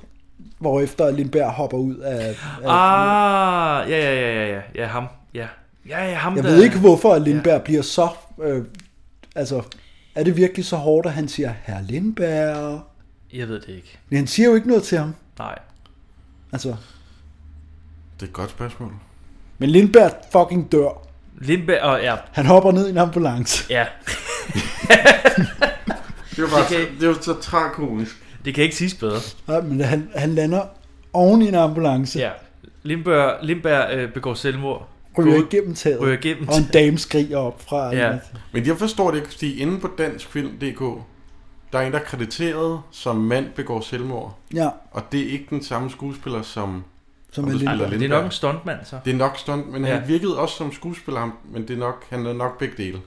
hvorefter Lindberg hopper ud af... af Ah, ja, ja, ja, ja, ja, ja, ham, ja. Ja, ja, ham jeg der... ved ikke, hvorfor at Lindberg ja. bliver så... Øh, altså, er det virkelig så hårdt, at han siger, herr Lindberg? Jeg ved det ikke. Men han siger jo ikke noget til ham. Nej. Altså, Det er et godt spørgsmål. men Lindberg fucking dør. Lindberg, og ja, Han hopper ned i en ambulance. ja. Det var, bare, det, det var så tragikomisk. Det kan ikke siges bedre. Nej, men han, han lander oven i en ambulance. Ja. Lindberg, Lindberg øh, begår selvmord. Ryger Gået- igennem taget. Ryger igennem Og en dame skriger op fra... Ja. Men jeg forstår det ikke, fordi inde på danskfilm.dk, der er en, der er krediteret som mand begår selvmord. Ja. Og det er ikke den samme skuespiller, som... Som der er spiller Lindberg. Det er nok en stuntmand, så. Det er nok stunt, men Ja. ja. han virkede også som skuespiller, ham, men det er nok, han er nok begge dele.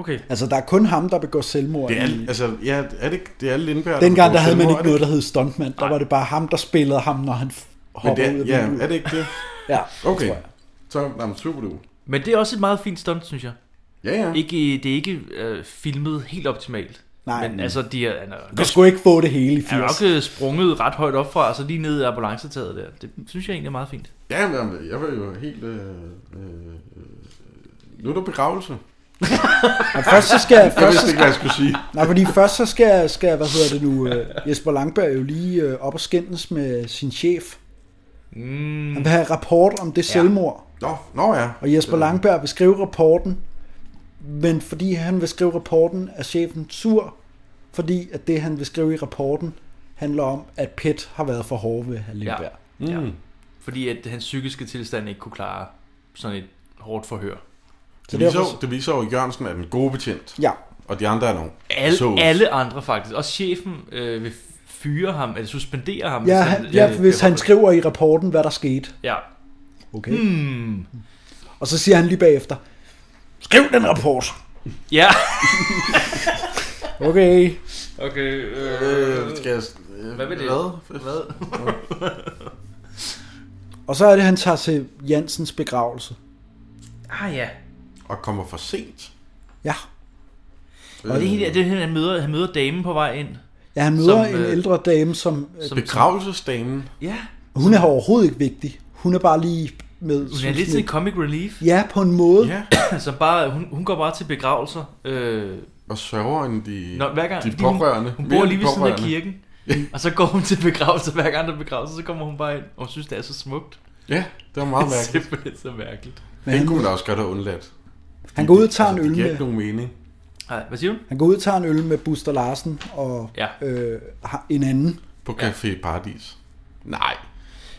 Okay. Altså, der er kun ham, der begår selvmord. Det er, i- altså, ja, er det, ikke- det er Lindberg, Dengang der begår havde man selvmord, ikke er noget, det der hed stuntman. Der var det bare ham, der spillede ham, når han f- Men hoppede det ud er, af ja, vinduet. er det ikke det? Ja, okay. tror jeg. Så jamen, super du. Men det er også et meget fint stunt, synes jeg. Ja, ja. Ikke, det er ikke øh, filmet helt optimalt. Nej. Men altså, de er, han er, Du skulle ikke få det hele i han er 80. nok øh, sprunget ret højt op fra, og så lige ned i ambulancetaget der. Det synes jeg egentlig er meget fint. Ja, men jeg var jo helt... Øh, øh, nu er der begravelse. Og først så skal... jeg først vidste så ikke, hvad jeg skulle sige. Nej, fordi først så skal, skal hvad hedder det nu, øh, Jesper Langberg jo lige øh, op og skændes med sin chef. Mm. Han vil have rapport om det Ja. selvmord. Nå, nå ja. Og Jesper Langberg vil skrive rapporten, men fordi han vil skrive rapporten, er chefen sur, fordi at det, han vil skrive i rapporten, handler om, at PET har været for hård ved Halle. Ja. ja. Fordi at hans psykiske tilstand ikke kunne klare sådan et hårdt forhør. Det viser, jo- det viser jo, at Jørgensen er den gode betjent. Ja. Og de andre er nogle Alle, assholes. alle andre faktisk. Også chefen øh, vil fyre ham, eller suspendere ham. Ja, hvis han, ja, øh, hvis bliver- han skriver i rapporten, hvad der skete. Ja. Okay. Hmm. Og så siger han lige bagefter, skriv den rapport. Ja. Okay. Okay, øh, skal jeg, øh, hvad vil det? Hvad? Og så er det, han tager til Jansens begravelse. ah ja. Og kommer for sent. Ja. Og det er helt, det er helt, han møder, han møder damen på vej ind. Ja, han møder Som, en øh, ældre dame, som... øh, som- Begravelsesdamen. Ja. Hun er overhovedet ikke vigtig. Hun er bare lige med... Hun er lidt sådan en comic relief. Ja, på en måde. Ja. som bare, hun, hun går bare til begravelser. Øh, og sørger end de, Nå, hver gang, de fordi hun- pårørende. Hun, Mere bor end lige de ved siden af pårørende. kirken. og så går hun til begravelser, hver gang der er begravelser, så kommer hun bare ind, og hun synes, det er så smukt. Ja, det var meget mærkeligt. Det er simpelthen så mærkeligt. Men han- Den kunne man da også godt have undladt. Han går ud og tager en øl Det giver med... ikke nogen mening. Nej, hvad siger du? Han går ud og tager en øl med Buster Larsen og Ja. øh, har- en anden. På Café Paradis. Nej.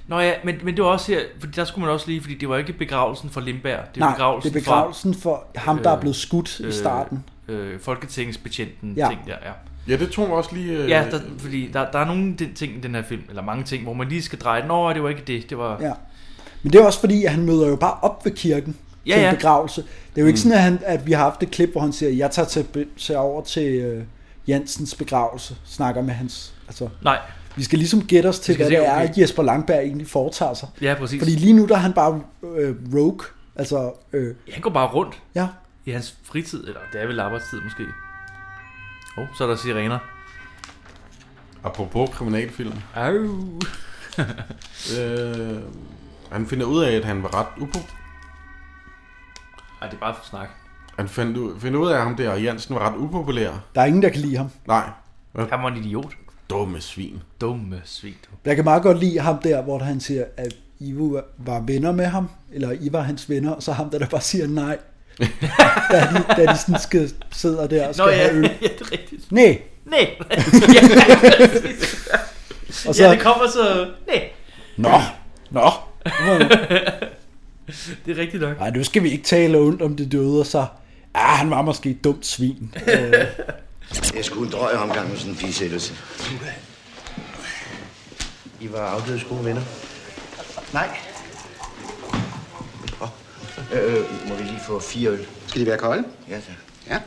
Nå ja, men, men det var også her, fordi der skulle man også lige, fordi det var ikke begravelsen for Lindberg. Det var Nej, begravelsen, det er begravelsen for ham, der er blevet skudt i starten. Øh, øh, Folketingsbetjenten Ja. ja. ting der, ja. Ja, det tog mig også lige... øh, Ja, der, fordi der, der er nogle de- ting i den her film, eller mange ting, hvor man lige skal dreje, nå, det var ikke det, det var... Ja. Men det er også fordi, at han møder jo bare op ved kirken Ja, til en ja. begravelse. Det er jo ikke Mm. sådan, at, han, at vi har haft et klip, hvor han siger, jeg tager til, be- til over til øh, Jansens begravelse, snakker med hans... Altså, Nej. Vi skal ligesom gætte os til, Vi skal hvad se, det er, okay. at Jesper Langberg egentlig foretager sig. Ja, præcis. Fordi lige nu, der er han bare øh, rogue. Altså, øh, Han går bare rundt. Ja. I hans fritid, eller det er vel arbejdstid måske. Åh, oh, så er der sirener. Apropos kriminalfilm. Au. øh, han finder ud af, at han var ret upo... Ej, det er bare for snak. Han fandt ud, finder ud af, at ham der Jansen var ret upopulær. der er ingen, der kan lide ham. Nej. Han var en idiot. Dumme svin. Dumme svin. du. Jeg kan meget godt lide ham der, hvor han siger, at I var- var venner med ham, eller I var hans venner, og så ham der, der bare siger nej. da, de, da de sådan skal, sidder der og skal Nå, ja. have øl. Ja, det er rigtigt. Nej. Nej. Ja, præcis. Ja, det kommer så, nej. Nå, nå. Det er rigtigt nok. Nej, nu skal vi ikke tale ondt om det døde, og så... Ah, han var måske et dumt svin. Øh, Jeg skulle en drøg omgang med sådan en fisættelse. I var afdødes gode venner. Nej. Øh, må vi lige få fire øl? Skal de være kolde? Ja, tak. Ja.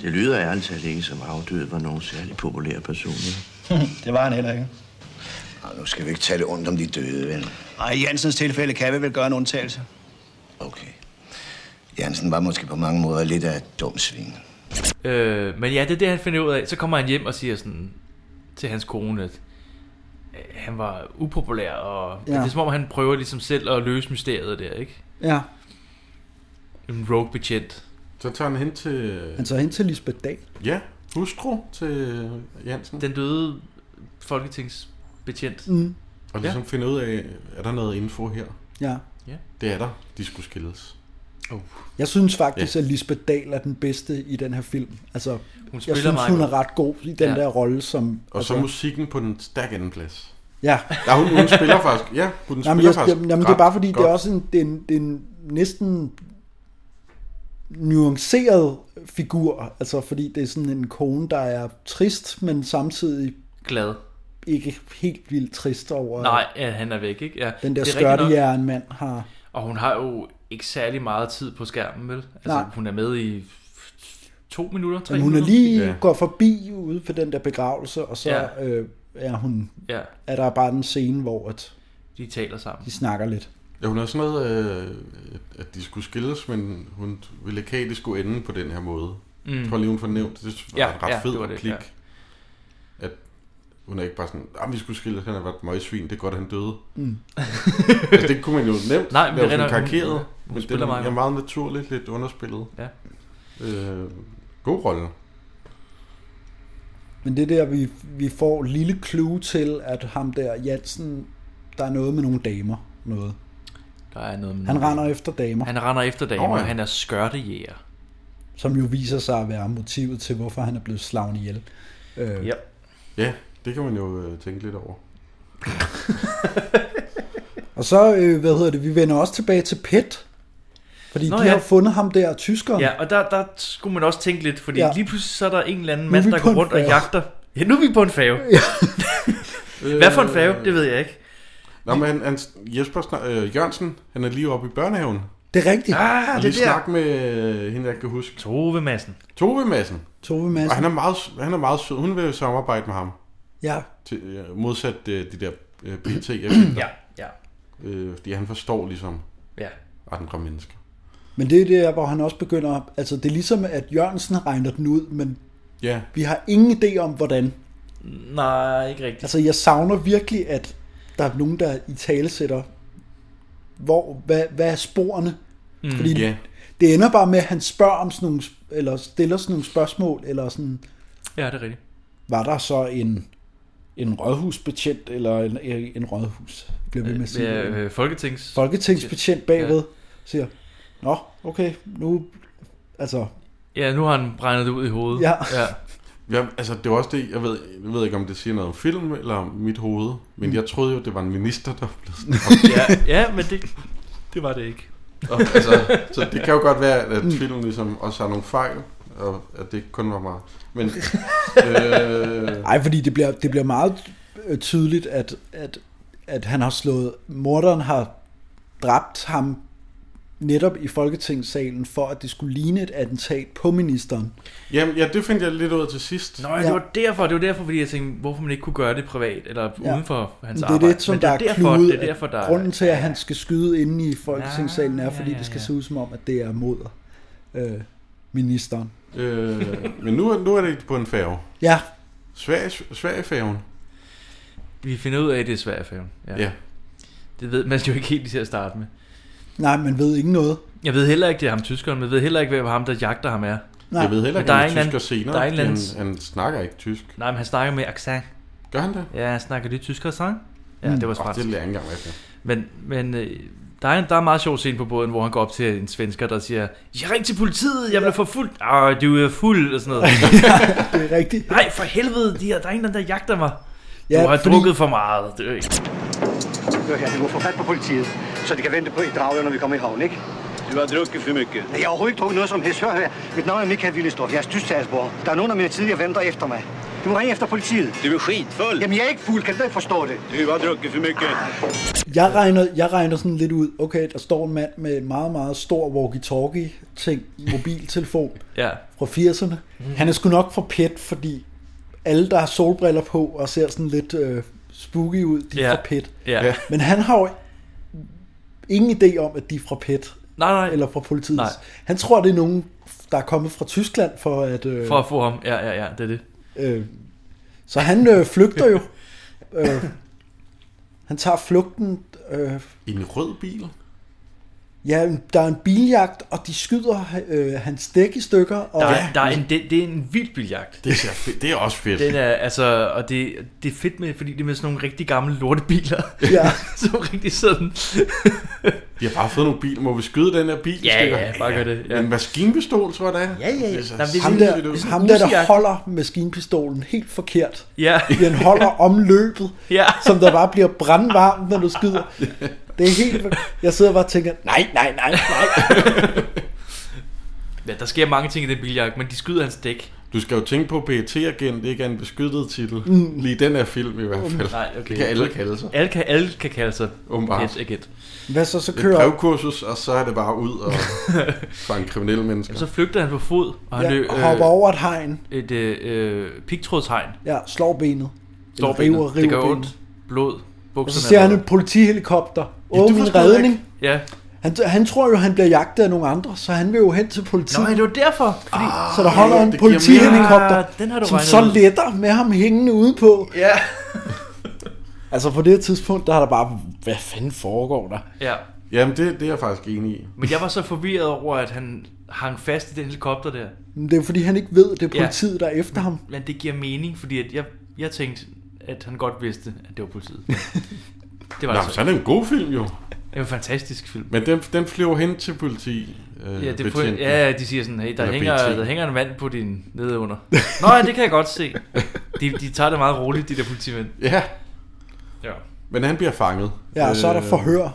Det lyder ærligt talt ikke som afdød var nogen særlig populær person. det var han heller ikke. Nå, nu skal vi ikke tale ondt om de døde, vel? Nej, i Jansens tilfælde kan vi vel gøre en undtagelse. Jansen var måske på mange måder lidt af et dumt svin. Øh, men ja, det er det, han finder ud af. Så kommer han hjem og siger sådan til hans kone, at øh, han var upopulær, og ja. Ja. det er som om, han prøver ligesom selv at løse mysteriet der, ikke? Ja. En rogue betjent. Så tager han hen til... Han tager hen til Lisbeth Dahl. Ja, hustru til Jansen. Den døde folketingsbetjent. Mm. Og ligesom ja. finder ud af, er der noget info her? Ja. Ja. Det er der. De skulle skilles. Oh. Jeg synes faktisk, at Lisbeth Dahl er den bedste i den her film. Altså, hun jeg spiller synes, meget hun godt. er ret god i den Ja. ja. der rolle, som... Altså, Og så musikken på den stærk anden plads. Ja. ja hun, hun spiller faktisk. Ja, hun Jamen, spiller jeg, faktisk. Jamen, det er ret bare fordi, det godt. er også en, det er en, det er en næsten nuanceret figur, altså fordi det er sådan en kone, der er trist, men samtidig Glad. ikke helt vildt trist over, Nej, ja, han er væk, ikke? Ja. Mm. den der Det er rigtigt nok. skørtejern mand har... Og hun har jo ikke særlig meget tid på skærmen, vel? Altså, Nej. hun er med i to minutter, tre Men hun er minutter. lige ja. går forbi ude for den der begravelse, og så Ja. ja. øh, er hun Ja. er der bare en scene, hvor at De taler sammen. de snakker lidt. Ja, hun havde sådan noget, øh, at- at de skulle skilles, men hun ville ikke have, at det skulle ende på den her måde. Mm. Mm. Jeg tror lige, hun fornævnte. Det synes jeg var Ja, ja, en ret ja, ja, fed det var det det, klik. ja. At hun er ikke bare sådan, at vi skulle skilles, han har været et møgsvin, det er godt, han døde. Mm. altså, det kunne man jo nemt Nej, men det lave sådan render- karikeret. hun- Hun, hun men det spiller er meget meget, meget naturligt, lidt underspillet. Ja. Øh, god rolle. Men det er der, vi, vi får lille clue til, at ham der Jansen, der er noget med nogle damer. Noget. Der er noget med Han render efter damer, Han render efter damer, Nå, oh, ja. ja. han er skørtejæger. som jo viser sig at være motivet til, hvorfor han er blevet slagen ihjel. Øh, Ja. Ja, det kan man jo øh, tænke lidt over. Og så, øh, hvad hedder det, vi vender også tilbage til Pet. Fordi Nå Nå, de ja. ja. har fundet ham der, tyskeren. Ja, og der, der skulle man også tænke lidt, fordi ja. Ja. lige pludselig så er der en eller anden Nu er vi mand, der på går en rundt og færge. jagter. Ja, nu er vi på en fave. Ja. Hvad for en fave? Det ved jeg ikke. Øh, Nå, men han, han, Jesper Sna- øh, Jørgensen, han er lige oppe i børnehaven. Det er rigtigt. Ah, og det lige er der. snak med øh, hende, jeg kan huske. Tove Madsen. Tove Madsen. Tove Og han Madsen. er, meget, han er meget sød. Hun vil jo samarbejde med ham. Ja. Til, øh, modsat øh, de der øh, pt ja, ja. Øh, fordi han forstår ligesom Ja. andre mennesker. Men det er der, hvor han også begynder, altså det er ligesom, at Jørgensen regner den ud, men Ja. vi har ingen idé om, hvordan. Nej, ikke rigtigt. Altså, jeg savner virkelig, at der er nogen, der i tale sætter, hvor, hvad, hvad er sporene? Mm, Fordi ja. det ender bare med, at han spørger om sådan nogle, eller stiller sådan nogle spørgsmål, eller sådan, Ja, det er rigtigt. var der så en, en rådhusbetjent, eller en, en rådhus, bliver vi med at sige. Ja, øh, Folketings... Folketingsbetjent bagved, siger, nå, okay, nu, altså, Ja, nu har han brændet det ud i hovedet. Ja. ja. Ja, altså det er jo også det, jeg ved, jeg ved ikke, om det siger noget om film eller om mit hoved, men Mm. jeg troede jo, det var en minister, der blev ja, ja men det, det var det ikke. Og, altså, så det kan jo godt være, at filmen ligesom også har nogle fejl, og at det ikke kun var mig. Men, øh, Ej, fordi det bliver, det bliver meget øh, tydeligt, at, at, at han har slået, morderen har dræbt ham netop i Folketingssalen, for at det skulle ligne et attentat på ministeren. jamen, ja, det fandt jeg lidt ud af til sidst. Nå, ja, det var derfor, det var derfor, fordi jeg tænkte, hvorfor man ikke kunne gøre det privat, eller ja. uden for hans Men Det Altså, arbejde. er det, som men der det er er derfor, kludet, det er derfor, der er- Ah, grunden til, at han skal skyde inde i Folketingssalen, er, fordi ja, ja, ja. det skal se ud som om, at det er mod øh, ministeren. Øh, men nu, er- nu er det på en færge. Ja. Sverige, Sverigefærgen. Vi finder ud af, at det er svært for Ja. Det ved man jo ikke helt til at starte med. Nej, man ved ikke noget. Jeg ved heller ikke, det er ham tyskeren, men jeg ved heller ikke, hvem ham, der jagter ham er. Nej. Jeg ved heller Men ikke, der om er han en er tysker anden- senere. der er en fordi anden- han, han snakker ikke tysk. Nej, men han snakker med accent. Gør han det? Ja, han snakker lidt tysk accent. Ja, Mm. det var Åh, smart. det lærte jeg ikke engang, hvad Men, men øh, der, er en, der er en meget sjov scene på båden, hvor han går op til en svensker, der siger, jeg ringte til politiet, jeg blev forfulgt. Ah, du er fuld, og sådan noget. det er rigtigt. Nej, for helvede, de her, der er en, eller anden, der jagter mig. Du Ja, har fordi- drukket for meget. Det er jo ikke. Hør her, vi må få fat på politiet, så de kan vente på i draget, når vi kommer i havn, ikke? Du har drukket for mycket. Jeg har overhovedet ikke drukket noget som helst. Hør her, mit navn er Michael Willestorff. Jeg er styrstatsborger. Der er nogen af mine tidligere venter efter mig. Du må ringe efter politiet. Du er skitfuld. Jamen, jeg er ikke fuld. Kan du ikke forstå det? Du har drukket for mycket. Jeg regner, jeg regner sådan lidt ud, okay, der står en mand med en meget, meget stor walkie-talkie-ting, mobiltelefon Ja. fra 80'erne. Mm. Han er sgu nok fra PET, fordi alle, der har solbriller på og ser sådan lidt øh, spooky ud, de er Ja. fra PET. Ja. Men han har jo ingen idé om, at de er fra PET. Nej, nej. Eller fra politiet. Nej. Han tror, det er nogen, der er kommet fra Tyskland for at... Øh, For at få ham. Ja, ja, ja, det er det. Øh, så han øh, flygter jo. Øh, han tager flugten. Øh, I en rød bil? Ja, der er en biljagt, og de skyder øh, hans dæk i stykker. Og Der, er, der er en, det, det er en vild biljagt. Det er, fedt. det er også fedt. Den er, altså, og det, det er fedt med, fordi det er med sådan nogle rigtig gamle lortebiler. Ja. som rigtig sådan. De har bare fået nogle biler. Må vi skyde den her bil? i Ja, stykker? ja, bare gør det, ja. En maskinpistol, tror jeg, det er. Ja, ja, ja. så Jamen, det er ham sindssygt der, ud. ham der, der holder maskinpistolen helt forkert. Ja. Den holder om løbet, ja. som der bare bliver brandvarmt, når du skyder. Det er helt... Jeg sidder bare og tænker, nej, nej, nej, nej. Ja, der sker mange ting i den biljagt, men de skyder hans dæk. Du skal jo tænke på pet agent ikke er en beskyttet titel. Mm. Mm. Lige den her film i hvert fald. Nej, okay. Det kan alle kalde sig. Alle kan, alle kan kalde sig Åbenbart. PET agent. Hvad så, så Et kører... brevkursus, og så er det bare ud og fange kriminelle mennesker. Jamen, så flygter han på fod, og han Ja, løb, øh, og hopper over et hegn. Et øh, øh, pigtrådshegn. Ja, slår benet. Slår Eller benet. river- river det gør benet. ondt. Blod. Og så Bukserne ser er han bløde. en politihelikopter. Ja, du Åh, min forstod redning. ikke. Ja. Han, han tror jo, han bliver jagtet af nogle andre, så han vil jo hen til politiet. Nej, det var derfor. Fordi, ah, så der holder ja, en det giver politihelikopter, mening. Ja, den har du som regnet så ud. letter med ham hængende udenpå. Ja. altså på det her tidspunkt, der har der bare, hvad fanden foregår der? Ja. Jamen, det, det er jeg faktisk enig i. Men jeg var så forvirret over, at han hang fast i den helikopter der. Men det er fordi, han ikke ved, at det er Ja. politiet, der er efter ham. Men det giver mening, fordi at jeg, jeg tænkte, at han godt vidste, at det var politiet. det var Nå, det så er det en god film jo. Det var en fantastisk film. Men den, den flyver hen til politi. Øh, Ja, det på, betjenten. ja, ja, de siger sådan, hey, der, Eller hænger, BT. der hænger en mand på din nede under. Nå, ja, det kan jeg godt se. De, de tager det meget roligt, de der politimænd. Ja. Ja. Men han bliver fanget. Ja, og så er der Øh, forhør.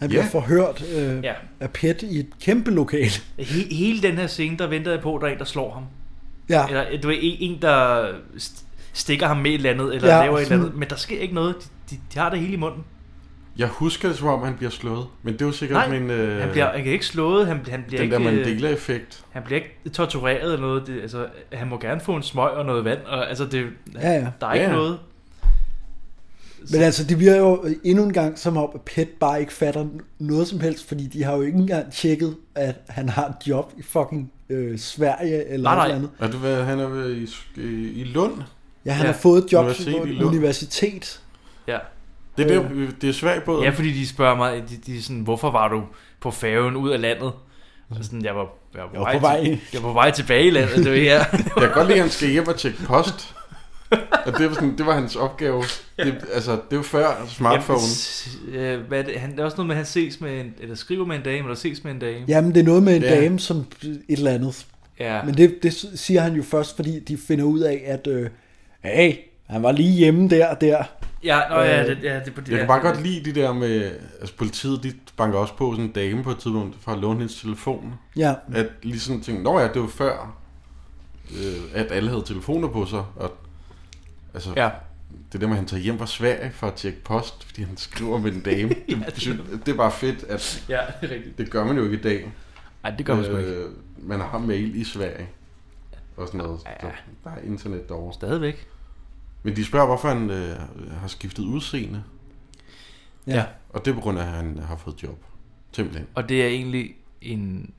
Han bliver ja. forhørt øh, Ja. af Pet i et kæmpe lokal. He, hele den her scene, der venter jeg på, at der er en, der slår ham. Ja. Eller du er en, en, der st- stikker ham med et eller andet, eller Ja, ja, laver et eller sådan- andet. Men der sker ikke noget. De, de, de har det hele i munden. Jeg husker det, som om han bliver slået. Men det er jo sikkert Nej, min... Øh, han bliver, han bliver ikke slået, han, han bliver den ikke... der øh, Mandela-effekt. Han bliver ikke tortureret eller noget. Det, altså, han må gerne få en smøg og noget vand. Og, altså, det, Ja, ja. der er ikke Ja, ja. noget. Men altså, det virker jo endnu en gang som om, at Pet bare ikke fatter noget som helst, fordi de har jo ikke engang tjekket, at han har et job i fucking øh, Sverige eller noget andet. Er det, hvad, han er ved i, i, i Lund? Ja, han har fået et job på Universitet i et Lund. universitet. Ja. Det er, der, det er svært både. Ja, fordi de spørger mig, de, de er sådan, hvorfor var du på færgen ud af landet? Og sådan, jeg var, jeg var, Jeg var på vej. Til, jeg var på vej tilbage i landet, det var her. Jeg kan godt lide, at han skal hjem og tjekke post. Og det var, sådan, det var hans opgave. Det, altså, det var før smartphone. Jamen, s- øh, hvad er det, han, der er også noget med, at han ses med en, eller skriver med en dame, eller ses med en dame. Jamen, det er noget med en dame, som et eller andet. Ja. Men det, det siger han jo først, fordi de finder ud af, at øh, hey, han var lige hjemme der og der. Ja, nå, ja, Øh, det, ja, det er på det Jeg kan der. bare godt lide det der med, altså politiet, de banker også på sådan en dame på et tidspunkt for at låne hendes telefon. Ja. At lige sådan tænke, nå ja, det var før, øh, at alle havde telefoner på sig. Og, altså, Ja. det der med, at han tager hjem fra Sverige for at tjekke post, fordi han skriver med en dame. Ja, det, det- synes- det, er bare fedt, at Ja, det er rigtigt. det gør man jo ikke i dag. Nej, det gør man sgu ikke. Man har mail i Sverige. Og sådan noget. Ja. Der er internet derovre. Stadigvæk. Men de spørger, hvorfor han øh, har skiftet udseende. Ja. Og det er på grund af, at han har fået job. Simpelthen. Og det er egentlig en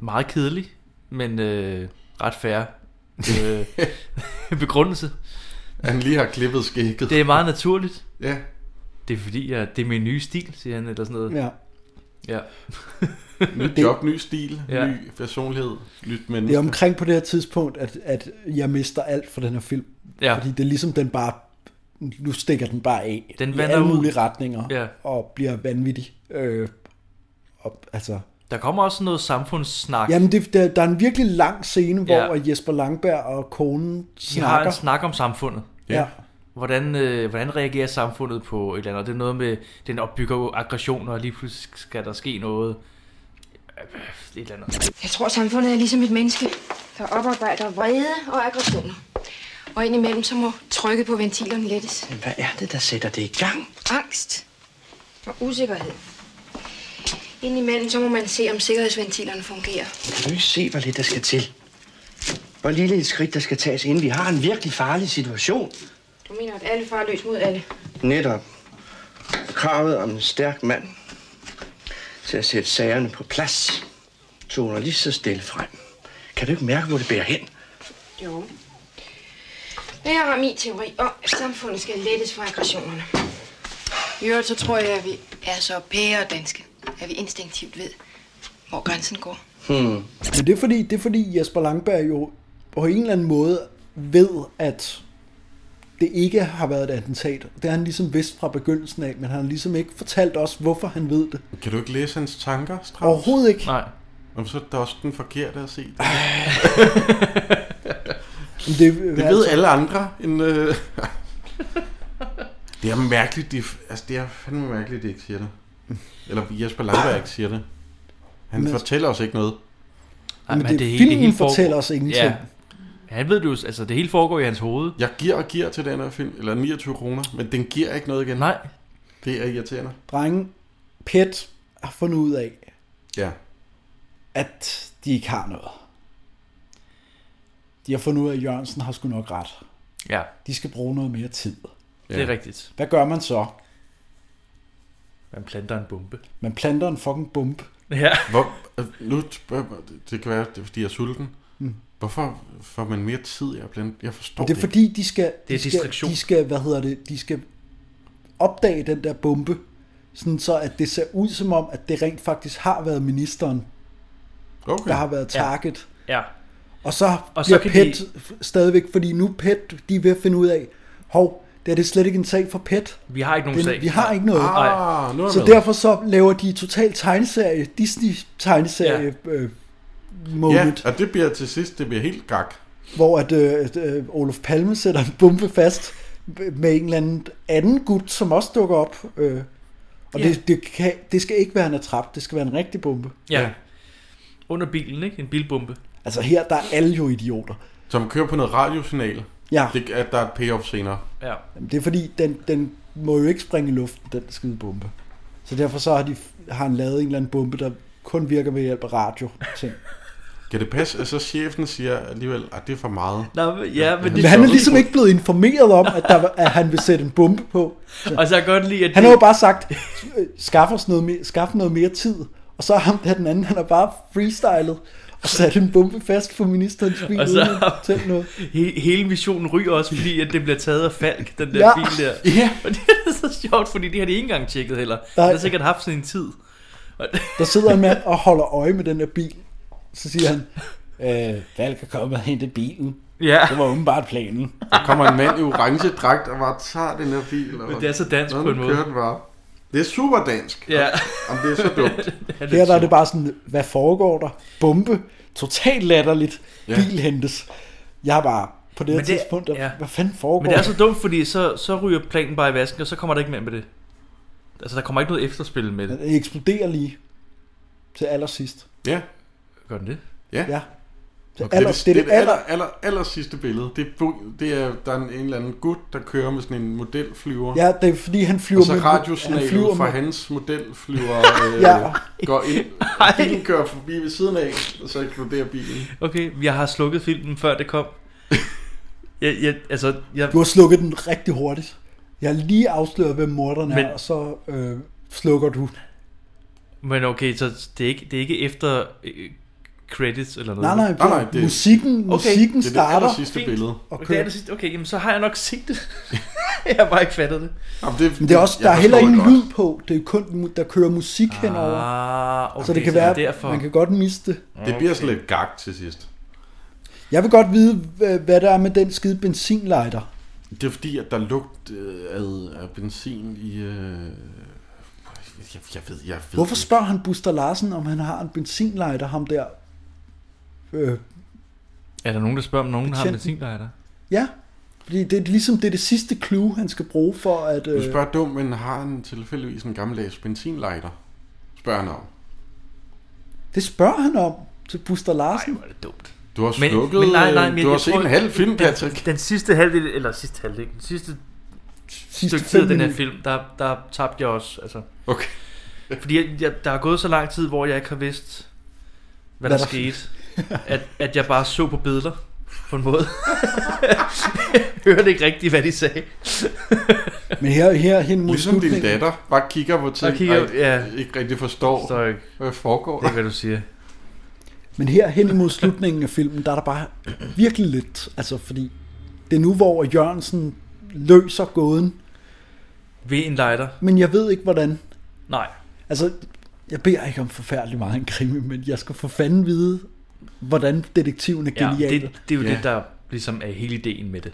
meget kedelig, men øh, ret fair øh, begrundelse. Han lige har klippet skægget. Det er meget naturligt. Ja. Det er fordi, jeg, det er min nye stil, siger han, eller sådan noget. Ja. Ja. Nyt job, ny stil, ja. ny personlighed, nyt menneske. Det er omkring på det her tidspunkt, at, at jeg mister alt for den her film. Ja. Fordi det er ligesom, den bare, nu stikker den bare af. Den I vander alle ud. mulige retninger. Ja. Og bliver vanvittig. Øh, og, altså, Der kommer også noget samfundssnak. Jamen, det, der, der er en virkelig lang scene, hvor Ja. ja. Jesper Langberg og konen De har snakker. en snak om samfundet. Ja. Hvordan, øh, hvordan reagerer samfundet på et eller andet? Og Det er noget med, den opbygger jo aggressioner, og lige pludselig skal der ske noget. Øh, Et eller andet. Jeg tror, samfundet er ligesom et menneske, der oparbejder vrede og aggressioner. Og indimellem så må trykket på ventilerne lettes. Men hvad er det, der sætter det i gang? Angst og usikkerhed. Indimellem så må man se, om sikkerhedsventilerne fungerer. Kan du ikke se, hvor lidt der skal til? Hvor lille et skridt, der skal tages, inden vi har en virkelig farlig situation. Du mener, at alle farer løs mod alle. Netop kravet om en stærk mand til at sætte sagerne på plads toner lige så stille frem. Kan du ikke mærke, hvor det bærer hen? Jo. Men jeg har min teori om, at samfundet skal lettes for aggressionerne. I øvrigt så tror jeg, at vi er så pære og danske, at vi instinktivt ved, hvor grænsen går. Hmm. Men det er, fordi, det er fordi Jesper Langberg jo på en eller anden måde ved, at det ikke har været et attentat. Det har han ligesom vidst fra begyndelsen af, men han har ligesom ikke fortalt os, hvorfor han ved det. Kan du ikke læse hans tanker, Strauss? Overhovedet Ah, ikke. Nej. Jamen, så er det da også den forkerte at se. det, det ved altså- alle andre end... Øh... det er mærkeligt, det, altså, det er fandme mærkeligt, det ikke siger det. Eller Jesper Langberg ikke siger det. Han Men- fortæller os ikke noget. Ej, Men det- hele- filmen hele foregår- fortæller os ingenting. Ja. Han ved det jo, altså det hele foregår i hans hoved. Jeg giver og giver til den her film, eller 29 kroner, men den giver ikke noget igen. Nej. Det er irriterende. Drenge, Pet har fundet ud af, Ja. at de ikke har noget. De har fundet ud af, at Jørgensen har sgu nok ret. Ja. De skal bruge noget mere tid. Det er Ja. rigtigt. Hvad gør man så? Man planter en bombe. Man planter en fucking bombe. Ja. Hvor, øh, nu spørger jeg mig- det kan være, det er, fordi jeg er sulten. Mm. Hvorfor får man mere tid i at blande? Jeg forstår Og det er fordi, de skal, Det de er skal, distraktion. de skal, hvad hedder det, de skal opdage den der bombe, sådan så at det ser ud som om, at det rent faktisk har været ministeren, okay. der har været target. Ja. Og så Og og så så kan PET de... stadigvæk, fordi nu PET, de er ved at finde ud af, hov, det er det slet ikke en sag for PET. Vi har ikke nogen Den- sag. Vi har ikke noget. Nej. Ah, nu er jeg så med. derfor så laver de totalt tegneserie, Disney-tegneserie ja. øh, Ja, moment, og det bliver til sidst, det bliver helt gak. hvor at øh, øh, Olof Palme sætter en bombe fast med en eller anden anden gut, som også dukker op. Øh, og Ja. ja. det, det, kan, det skal ikke være en attrap, det skal være en rigtig bombe. Ja. Under bilen, ikke? En bilbombe. Altså her, der er alle jo idioter. Som kører på noget radiosignal. Ja. Det, at der er et payoff senere. Ja. Jamen, det er fordi, den, den må jo ikke springe i luften, den skide bombe. Så derfor så har, de, har han lavet en eller anden bombe, der kun virker ved hjælp af radio. Ting. Kan det passe, at så chefen siger alligevel, at det er for meget? Nå, men- ja, men Men han er ligesom ikke blevet informeret om, at, der, var- at han vil sætte en bombe på. Og så kan jeg godt lide, at Han det- har jo bare sagt, øh, skaff os noget mere, skaff noget mere tid. Og så har ham der den anden, han har bare freestylet og sat en bombe fast på ministerens bil. Og Og så- så... Fortæl noget. Hele, hele missionen ryger også, fordi at det bliver taget af Falk, den der ja. Ja. bil der. Ja. Og det er så sjovt, fordi det har de ikke engang tjekket heller. Nej. Nej. Han har sikkert haft sin tid. Og- Der sidder en mand og holder øje med den der bil. Så siger han, øh, Falk er kommet og hentet bilen. Ja. Det var åbenbart planen. Der kommer en mand i orange dragt og bare tager den her bil. Og Men det er så dansk Nå, på en nu måde. kører den bare. Det er super dansk. Ja. Om det er så dumt. Her der er det bare sådan, hvad foregår der? Bombe. Totalt latterligt. Ja. Bil hentes. Jeg er bare på det her Men det- tidspunkt, der, hvad fanden foregår Men det er der? så dumt, fordi så, så ryger planen bare i vasken, og så kommer der ikke mere med det. Altså, der kommer ikke noget efterspil med det. Den eksploderer lige til allersidst. Ja. Gør den det? Ja. Ja. Det, Okay, aller, det, er det, aller, aller, aller, aller sidste billede. Det er, bu- det er, der er en, en eller anden gut, der kører med sådan en modelflyver. Ja, det er fordi, han flyver og så med- radiosignalet han flyver fra med- hans modelflyver øh, Ja. ja. går ind. Bilen kører forbi ved siden af, og så eksploderer bilen. Okay, jeg har slukket filmen, før det kom. Jeg, jeg, altså, jeg, du har slukket den rigtig hurtigt. Jeg har lige afsløret, hvem morderen er, Men- og så øh, slukker du. Men okay, så det er ikke, det er ikke efter øh, credits eller noget? Nej, nej, det er- Nej, nej, det- musikken- musikken Det er det starter. allersidste Fint. billede. Og Og det er kører. allersidste- Okay, jamen, så har jeg nok set det. jeg har bare ikke fattet det. Jamen, det, Men det er også, der er heller ingen lyd på. Det er kun, mu- der kører musik ah, henover. Ah, okay, så det kan så det er være, derfor. man kan godt miste det. Det bliver sådan lidt gak til sidst. Jeg vil godt vide, hva- hvad der er med den skide benzinlighter. Det er fordi, at der lugt øh, af, af benzin i... Øh, jeg, jeg ved, jeg ved Hvorfor ikke. spørger han Buster Larsen, om han har en benzinlighter, ham der? Øh, Er der nogen, der spørger, om nogen har Betjenten. benzinlejder? ja, fordi det er ligesom det, er det sidste clue, han skal bruge for at... øh, Du spørger dum, men har han tilfældigvis en gammeldags benzinlighter? Spørger han om. Det spørger han om til Buster Larsen. Nej, det dumt. Du har slukket... øh, du har jeg set tror- en halv film, Den, Patrick. den sidste halvdel, eller sidste halvdel, den sidste, sidste stykke tid fem af den her minutter. film, der, der tabte jeg også. Altså. Okay. Fordi jeg, jeg, der er gået så lang tid, hvor jeg ikke har vidst, hvad, Hvad hvad der, der- skete. at, at jeg bare så på billeder, på en måde. Hørte ikke rigtigt, hvad de sagde. Men her, her hen mod Ligesom din slutningen- datter bare kigger på ting, kigger- og ikke, ja. ikke rigtig forstår, Forstår ikke. hvad foregår. Det er, hvad du siger. Men her hen imod slutningen af filmen, der er der bare virkelig lidt, altså fordi det er nu, hvor Jørgensen løser gåden, Ved en lighter. men jeg ved ikke hvordan. Nej. Altså, jeg beder ikke om forfærdelig meget en krimi, men jeg skal for fanden vide, hvordan detektiven er Ja, genial. det, det er jo ja. Ja. det, der ligesom er hele ideen med det.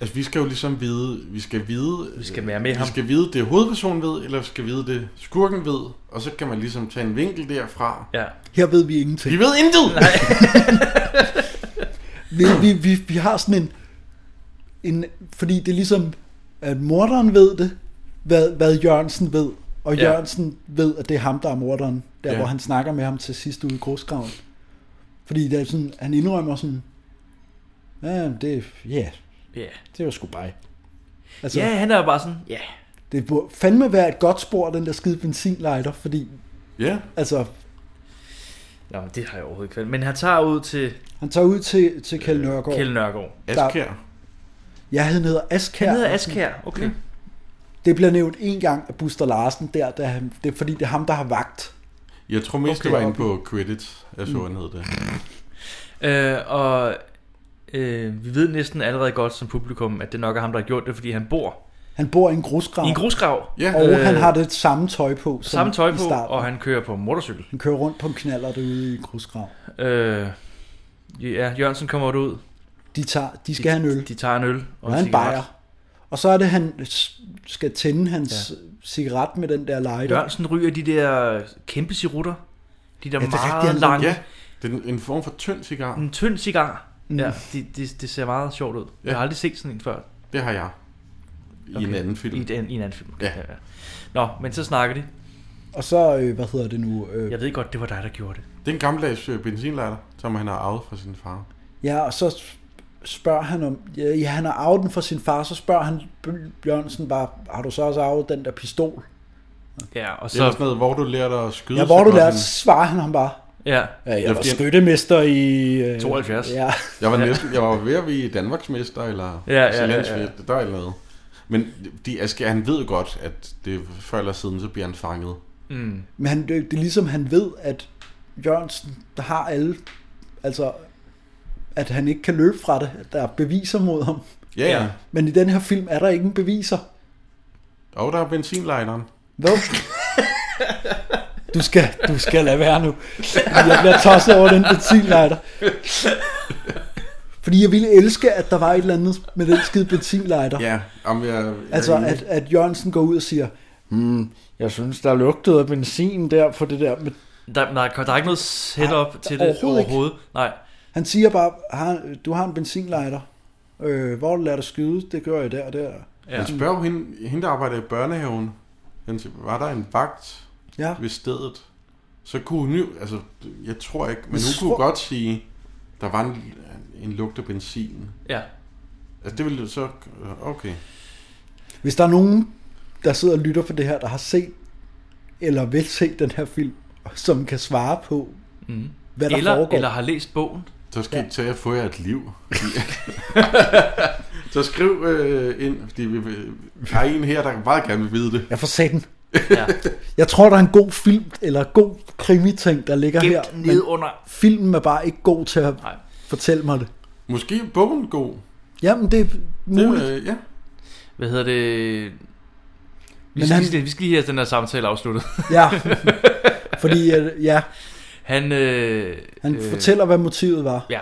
Altså, vi skal jo ligesom vide, vi skal vide, vi skal være med vi ham. skal vide det hovedpersonen ved, eller vi skal vide det skurken ved, og så kan man ligesom tage en vinkel derfra. Ja. Her ved vi ingenting. Vi ved intet! vi, vi, vi, vi har sådan en, en... Fordi det er ligesom, at morderen ved det, hvad, hvad Jørgensen ved. Og Ja. Jørgensen ved, at det er ham, der er morderen. Der, Ja. hvor han snakker med ham til sidst ude i grusgraven. Fordi det er sådan, han indrømmer sådan... Ja, det, ja, Ja. det var sgu bare... Altså, ja, han er jo bare sådan, ja. Det burde fandme være et godt spor, den der skide benzinlighter, fordi... Ja. Altså, Nå, men det har jeg overhovedet ikke valgt. Men han tager ud til han tager ud til, til Kjell Øh, Nørgaard. Kjell Nørgaard. Askjær. Ja, han hedder Askær. Han hedder Askær, okay. Det bliver nævnt en gang af Buster Larsen der, da han, det er fordi det er ham, der har vagt. Jeg tror mest, okay, det Okay, var inde okay. på credits, jeg så, Mm. han hed det. Øh, og øh, vi ved næsten allerede godt som publikum, at det nok er ham, der har gjort det, fordi han bor Han bor i en grusgrav. i en grusgrav. Og øh, han har det samme tøj på som samme tøj i på, starten. og han kører på motorcykel. Han kører rundt på en knaller derude i en grusgrav. Øh, ja, Jørgensen kommer ud. De, tager, de skal have en øl. De tager en øl. Og han cigaret. bajer. Og så er det, han s- skal tænde hans ja. cigaret med den der lighter. Jørgensen ryger de der kæmpe cirutter. De der Ja, det er meget rigtigt, han- lange. Ja, det er en- en form for tynd cigar. En tynd cigar. Mm. Ja, det, det, det ser meget sjovt ud. Ja. Ja. Jeg har aldrig set sådan en før. Det har jeg. I en anden film. I, en, i en anden film. Okay. Ja. Ja. ja. Nå, men så snakker de. Og så, øh, hvad hedder det nu? Øh, Jeg ved godt, det var dig, der gjorde det. Det er en gammeldags øh, benzinlighter, som han har arvet fra sin far. Ja, og så spørger han om, ja, ja, han har arvet den fra sin far, så spørger han B- Bjørnsen bare, har du så også arvet den der pistol? Ja, og Og så... så... Det er sådan noget, hvor du lærer dig at skyde. Ja, hvor så du godt lærer, han- svarer han ham bare. Ja. Ja, Ja, jeg var fordi han- skyttemester i... Øh, 72. Ja. Jeg var, næsten, jeg var ved at blive Danmarksmester eller Ja, ja, ja, ja. Sjællandsmester, der er eller noget. Men de, Aske, han ved godt, at det er før eller siden, så bliver han fanget. Mm. Men han, det, det er ligesom, han ved, at Jørgensen der har alle, altså at han ikke kan løbe fra det, at der er beviser mod ham. Ja, ja. Men i den her film er der ingen beviser. Og der er benzinligneren. Hvad? Du skal, du skal lade være nu. Jeg bliver tosset over den benzinlighter. Fordi jeg ville elske, at der var et eller andet med den skide benzinlighter. Ja, om jeg, jeg Altså, at, at Jørgensen går ud og siger, hmm, jeg synes, der lugtede af benzin der på det der. Men Der, nej, der er ikke noget setup Nej, til det overhovedet. overhovedet ikke. overhovedet. Nej. han siger bare, har, du har en benzinlighter. Øh, hvor lader du skyde? Det gør jeg der og der. Ja. Jeg spørger jo hende, hende, der arbejder i børnehaven, han siger, var der en vagt Ja. ved stedet? Så kunne hun jo, altså, jeg tror ikke, men Men hun kunne tror- godt sige, der var en, en lugt af benzin. Ja. Altså, det ville jo så, okay. Hvis der er nogen, der sidder og lytter på det her, der har set eller vil se den her film, som kan svare på, Mm. hvad der eller, foregår. eller har læst bogen. Så skal ja. I tage at få jer et liv. så skriv øh, ind, fordi vi vil- har en her, der meget gerne vil vide det. Jeg får sat den. Jeg tror, der er en god film, eller god krimiting, der ligger Gemt her. ned under. Filmen er bare ikke god til at Nej. fortælle mig det. Måske er bogen god. Jamen, det er muligt. Det, øh, ja. Hvad hedder det? Vi Men skal, han- han... vi skal lige have den her samtale afsluttet. Ja, fordi, øh, ja. Han, øh, Han øh, øh, fortæller, hvad motivet var. Ja.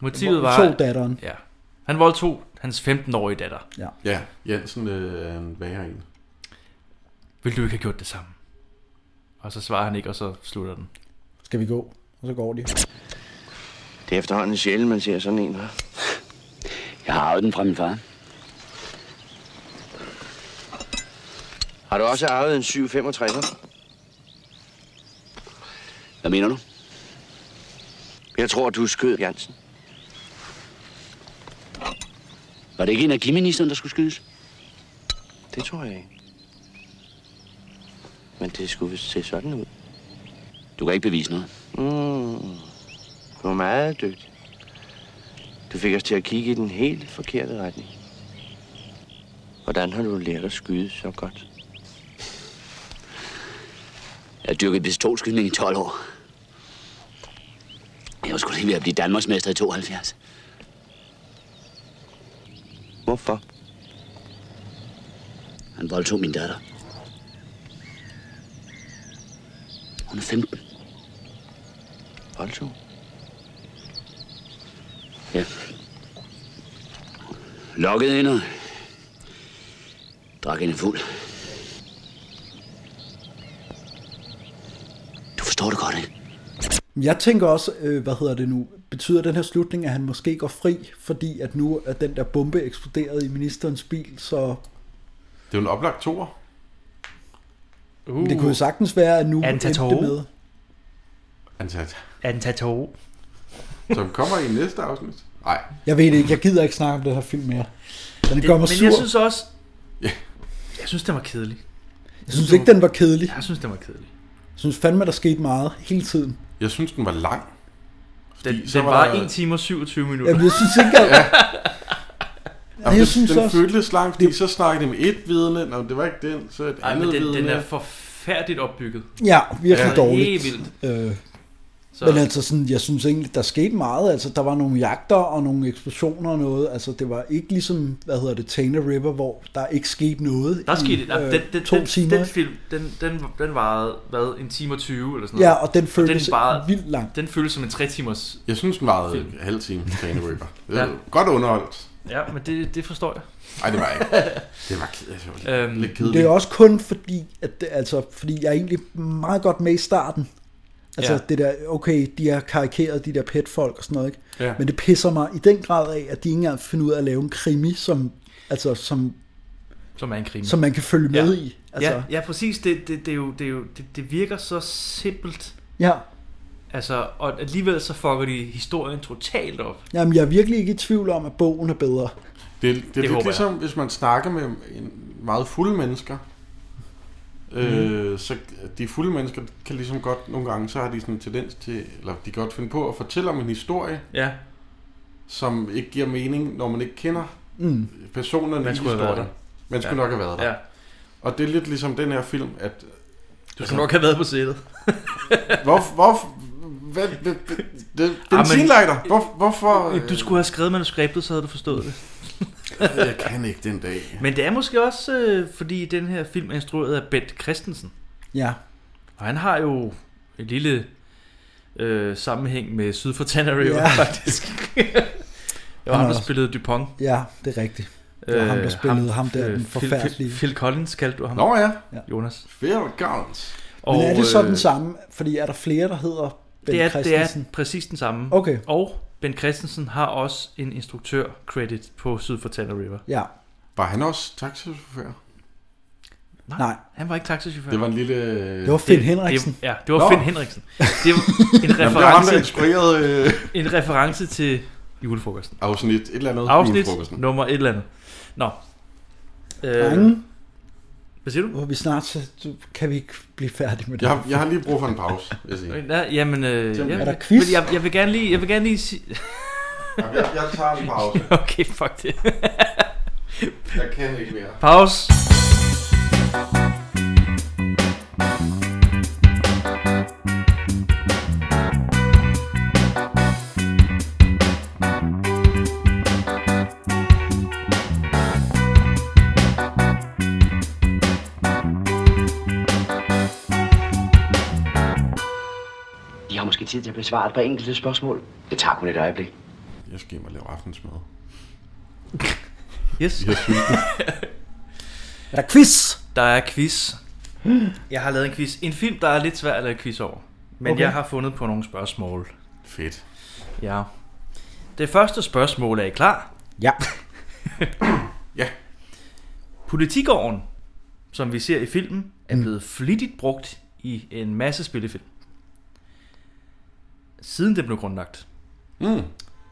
Motivet var... Tog datteren. Ja. Han voldtog hans 15-årige datter. Ja. Ja, Jensen øh, er en værre en. Vil du ikke have gjort det samme? Og så svarer han ikke, og så slutter den. Skal vi gå? Og så går de. Det er efterhånden sjældent, man ser sådan en her. Jeg har arvet den fra min far. Har du også arvet en 765'er? Hvad mener du? Jeg tror, du skød Jansen. Var det ikke energiministeren, der skulle skydes? Det tror jeg ikke. Men det skulle vist se sådan ud. Du kan ikke bevise noget. Mm. Du er meget dygtig. Du fik os til at kigge i den helt forkerte retning. Hvordan har du lært at skyde så godt? Jeg har dyrket pistolskydning i 12 år. Jeg var sgu lige ved at blive Danmarksmester i 72. Hvorfor? Han voldtog min datter. Hun er 15. Voldtog? Ja. Lokket hende og drak hende fuld. Du forstår det godt, ikke? Men Jeg tænker også, øh, hvad hedder det nu, betyder den her slutning, at han måske går fri, fordi at nu er den der bombe eksploderet i ministerens bil, så Det er jo en oplagt toer. uh. det kunne jo sagtens være, at nu endte Antatov. det med. Ansat. Antato. Som kommer i næste afsnit. Nej. Jeg ved det ikke, jeg gider ikke snakke om den her film mere. Den det, gør mig men sur. jeg synes også... Jeg synes, den var kedelig. jeg synes ikke, den var kedelig. Jeg synes, den var kedelig. Jeg synes fandme, der skete meget hele tiden. Jeg synes, den var lang. Den, så den var- var 1 time og 27 minutter. Jamen, jeg synes ikke, at... Jamen, jeg jeg den, synes synes den også- føltes lang, fordi så snakkede de med et vidne, og det var ikke den, så et Ej, andet men den, vidne. den er forfærdeligt opbygget. Ja, virkelig Altså, dårligt. Helt vildt. Øh, Så- så. Men altså, sådan, jeg synes egentlig, der skete meget. Altså, der var nogle jagter og nogle eksplosioner og noget. Altså, det var ikke ligesom, hvad hedder det, Tana River, hvor der ikke skete noget Der i skete det. øh, Den, den, to den, timer. den film, den, den, den varede, hvad, en time og 20 eller sådan Ja, noget. og den føltes varede- vildt lang. Den føltes som en 3 timers Jeg synes, den varede Film. en halv time, Tane Ripper. Det Ja. var Godt underholdt. Ja, men det, det forstår jeg. Nej, det var jeg ikke. Det var ked- det var Øhm, lidt- lidt Det er også kun fordi, at det, altså, fordi jeg er egentlig meget godt med i starten. Altså Ja. ja. det der, okay, de har karikeret de der petfolk og sådan noget, ikke? Ja. Men det pisser mig i den grad af, at de ikke engang finder ud af at lave en krimi, som, altså, som, Som er en krimi. som man kan følge med ja. i. Altså, Ja, ja præcis. Det, det, det, er jo, det, er jo, det, det virker så simpelt. Ja. Altså, og alligevel så fucker de historien totalt op. Jamen, jeg er virkelig ikke i tvivl om, at bogen er bedre. Det, det, det er håber lidt ligesom, hvis man snakker med en, meget fulde mennesker, Mm. øh, så de fulde mennesker kan ligesom godt nogle gange, så har de sådan en tendens til, eller de kan godt finde på at fortælle om en historie, Ja. som ikke giver mening, når man ikke kender Mm. personerne Man i skulle have været historien. der. Man skulle Ja. nok have været der. Ja. Og det er lidt ligesom den her film, at... Du Du skal nok have været på sædet. Hvor, hvor, hvad, hvad, hvad, det, benzinlighter, hvor, hvorfor... øh, Du skulle have skrevet manuskriptet, så havde du forstået det. Jeg kan ikke den dag. Men det er måske også, øh, fordi den her film er instrueret af Bent Christensen. Ja. Og han har jo en lille øh, sammenhæng med Syd for Tanner River, Ja. ja. faktisk. det var Han ham, har der også- spillede Dupont. Ja, det er rigtigt. Det var ham, der spillede Øh, ham der, den forfærdelige. Øh, Phil, Phil Collins kaldte du ham. Nå ja. Jonas. Phil Collins. Men er det så den samme? Fordi er der flere, der hedder øh, Ben det er, Christensen? Det er præcis den samme. Okay. Og Ben Christensen har også en instruktør-credit på Syd for Tanner River. Ja. Var han også taxichauffør? Nej, Nej. han var ikke taxichauffør. Det var en lille- Det var Finn Øh, Det- Henriksen. Det, ja, det var Nå. Finn Henriksen. Det var en Jamen, det var ham, der reference, instruerede, øh. en reference til julefrokosten. Afsnit et eller andet. Afsnit Julefrokosten. nummer et eller andet. Nå. Øh, Drenge. Hvad siger du? Hvor vi snart, så så kan vi ikke blive færdige med det. Jeg, har- jeg har lige brug for en pause, vil jeg sige. Ja, jamen, øh, Simpelthen. ja, Er der quiz? Men jeg, jeg vil gerne lige, jeg vil gerne lige sige... Jamen, jeg- jeg tager en pause. okay, fuck det. Jeg kan ikke mere. Pause. måske tid til at besvare et par enkelte spørgsmål. Det tager kun et øjeblik. Jeg skal hjem og lave aftensmad. Yes. Jeg synes det. Er der quiz? Der er quiz. Jeg har lavet en quiz. En film, der er lidt svær at lave quiz over. Men Okay. okay. jeg har fundet på nogle spørgsmål. Fedt. Ja. Det første spørgsmål, er I klar? Ja. ja. Politigården, som vi ser i filmen, Mm. er blevet flittigt brugt i en masse spillefilm. Siden det blev grundlagt. Mm.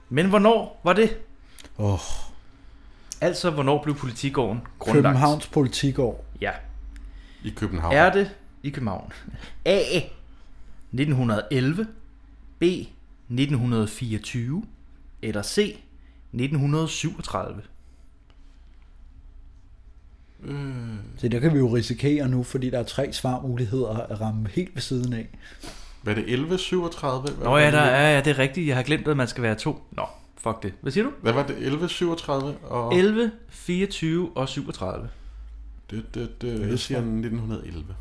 Men hvornår var det? Åh, Altså, hvornår blev politigården grundlagt? Københavns politikår. Ja. I København. Er det i København? A. 1911. B. 1924. Eller C. 1937. Øh, Så der kan vi jo risikere nu, fordi der er tre svarmuligheder at ramme helt ved siden af. hvad er det? 11.37? Hvad Nå var ja, det? der er, ja, det er rigtigt. Jeg har glemt, at man skal være to. Nå, fuck det. Hvad siger du? Hvad var det? 11.37 og... 11, 24 og 37. Det, det, det, jeg siger 1911.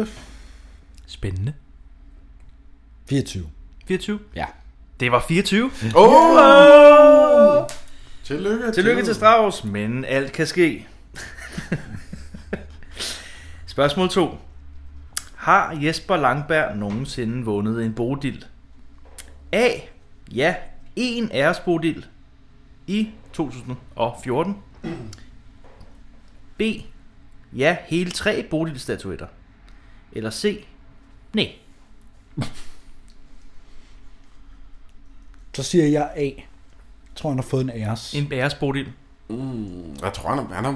Øh... Spændende. 24. 24? Ja. Det var 24. Åh! Tillykke, Tillykke til Strauss, men alt kan ske. Spørgsmål 2. Har Jesper Langberg nogensinde vundet en bodil? A. Ja, en æresbodil i 2014. B. Ja, hele tre bodilstatuetter. Eller C. Nej. Så siger jeg A. Jeg tror, han har fået en æres. En æresbodil. Mm, jeg tror, han er... Han er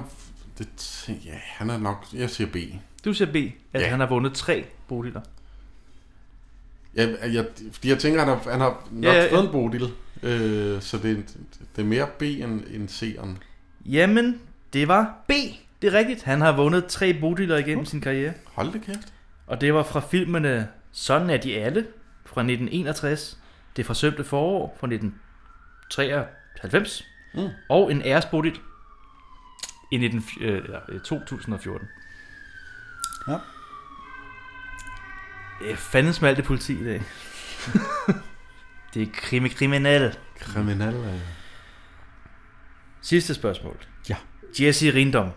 det, ja, han er nok... Jeg siger B. Du siger B, at Ja. ja. han har vundet tre bodiler. Jeg, jeg, fordi jeg tænker, han har, han har nok Ja, ja, ja. fået en bodil. Øh, så det er, en- det er mere B end, end C'eren. Jamen, det var B. Det er rigtigt. Han har vundet tre bodiler igennem sin karriere. Hold da kæft. Og det var fra filmene Sådan er de alle fra 1961, Det forsømte forår fra 1993 Mm. og En æresbodil i 19, øh, eller, øh, 2014. Ja. Øh, fanden smalt det politi i dag. det er krimi kriminal. Kriminal, ja. Sidste spørgsmål. Ja. Jesse Rindom.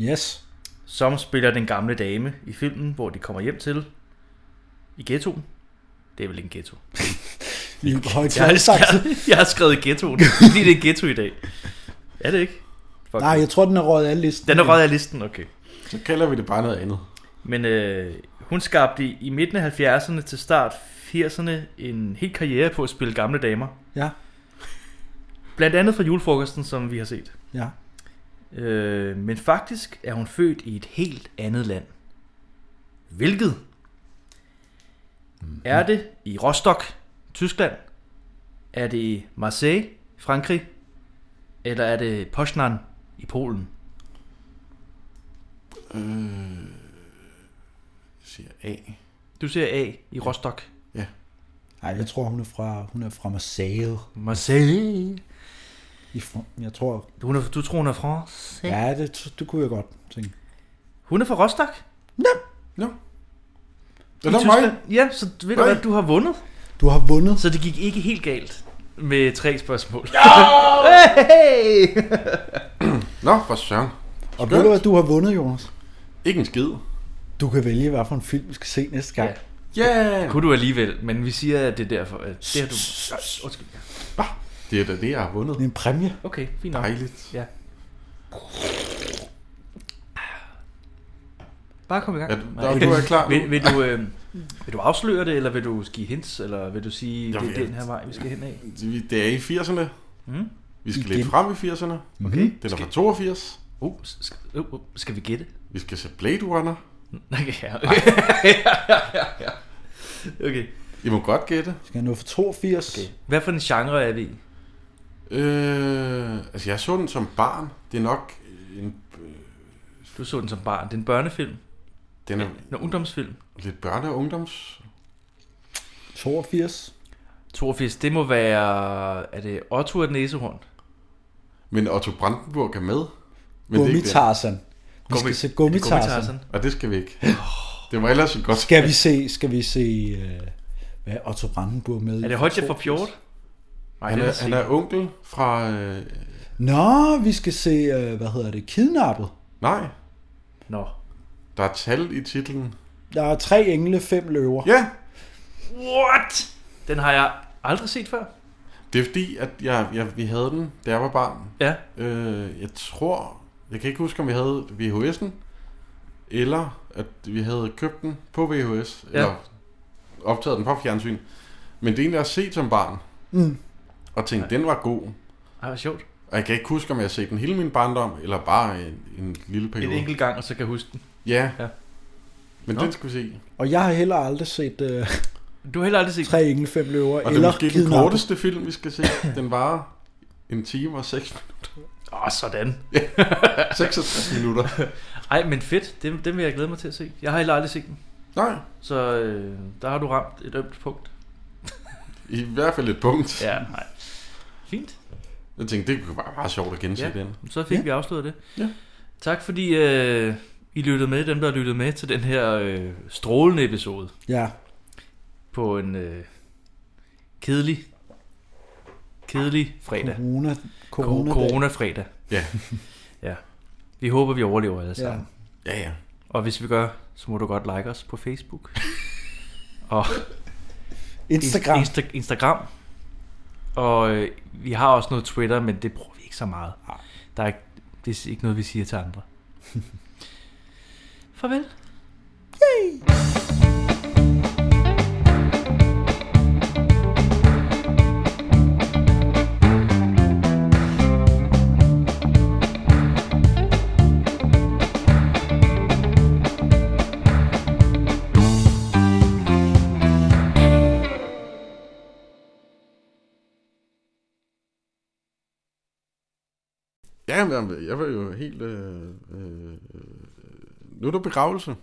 Yes. Som spiller den gamle dame i filmen, hvor de kommer hjem til. I ghettoen. Det er vel en ghetto. I en høj jeg, talsakse. jeg, jeg har skrevet ghettoen, fordi det er ghetto i dag. Er det ikke? Fuck. Nej, jeg tror, den er røget af listen. Den er røget af listen, okay. Så kalder vi det bare noget andet. Men øh, hun skabte i, i midten af 70'erne til start 80'erne en hel karriere på at spille gamle damer. Ja. Blandt andet fra julefrokosten, som vi har set. Ja. Øh, men faktisk er hun født i et helt andet land. Hvilket? Mm-hmm. Er det i Rostock, Tyskland? Er det i Marseille, Frankrig? Eller er det Poznan i Polen? Øh, jeg siger A. Du ser A i Rostock. Nej, jeg tror, hun er fra, hun er fra Marseille. Marseille. I Fran- jeg tror... Hun er, du tror, hun er fransk? Ja, det, t- det kunne jeg godt tænke. Hun er fra Rostock? I Ja. Tyskland? Ja, så ved du Nej. hvad, du har vundet. Du har vundet. Så det gik ikke helt galt med tre spørgsmål. hey! Nå, for søren. Og ved du, at du har vundet, Jonas? Ikke en skid. Du kan vælge, hvad for en film vi skal se næste gang. Ja! Kunne du alligevel, men vi siger, at det er derfor. At det har du... Undskyld. Det er da det, jeg har vundet. Det er en præmie. Okay, fint nok. Dejligt. Ja. Bare kom i gang. Er du- der- du er klar nu. Vil, vil, du, øh, vil du afsløre det, eller vil du give hints, eller vil du sige, Jeg det ved- er den her vej, vi skal hen af? Vi- Det er i 80'erne. Mm. Vi skal Igen. lidt frem i 80'erne. Okay. Den er fra 82. Uh, skal, uh, uh, skal vi gætte? Vi skal se Blade Runner. Okay, ja, okay. okay. I må godt gætte. Skal jeg nå for 82? Okay. Hvad for en genre er vi i? Øh, altså, jeg så den som barn. Det er nok en, Du så den som barn. Det er en børnefilm. den er En ungdomsfilm. lidt børne- og ungdoms... 82? 82, det må være... Er det Otto af den næsehorn? Men Otto Brandenburg er med. Men det er ikke det. Gummitarsen. Gummi- Vi skal se Er det Gummitarsen. Gummitarsen? Og det skal vi ikke. Det var ellers et godt Skal vi se, skal vi se øh, hvad er Otto Brandenburg med? i? Er det Hodja fra Pjort? Nej, han, det er, er han er onkel fra... Øh, Nå, vi skal se, øh, hvad hedder det, Kidnappet. nej. Nå. Der er tal i titlen. Der er tre engle, fem løver. Ja. What? Den har jeg aldrig set før. Det er fordi, at jeg, jeg, vi havde den, da jeg var barn. Ja. Øh, jeg tror... Jeg kan ikke huske, om vi havde VHS'en, eller at vi havde købt den på VHS, Ja. eller optaget den på fjernsyn. Men det er en, jeg har set som barn, Mm. og tænkte, den var god. Ej, hvor sjovt. Og jeg kan ikke huske, om jeg har set den hele min barndom, eller bare en, en lille En periode. enkelt gang, og så kan jeg huske den. Ja. ja. Men Nå. den skal vi se. Og jeg har heller aldrig set... Øh, du har heller aldrig set... Tre engle, fem løver, Og det er eller måske den Kidnappet. korteste film, vi skal se. Den varer en time og seks minutter. Åh, oh, sådan. 66 minutter. Ej, men fedt. Den, den vil jeg glæde mig til at se. Jeg har heller aldrig set den. Nej. Så øh, der har du ramt et ømt punkt. I hvert fald et punkt. Ja, nej. Fint. Jeg tænkte, det kunne være meget sjovt at gense Ja, den. så fik ja. vi afsløret det. Ja. Tak fordi øh, I lyttede med, dem der lyttede med til den her øh, strålende episode. Ja. På en øh, kedelig, kedelig fredag. Corona, corona coronadag. corona-fredag. Ja. ja. Vi håber, vi overlever alle sammen. Ja, ja. Og hvis vi gør, så må du godt like os på Facebook. og Instagram. Insta- Instagram. Og øh, vi har også noget Twitter, men det bruger vi ikke så meget. Der er ikke, det er ikke noget, vi siger til andre. Farvel. Ja, men jeg var jo helt... Øh, øh, øh, nu er der begravelse.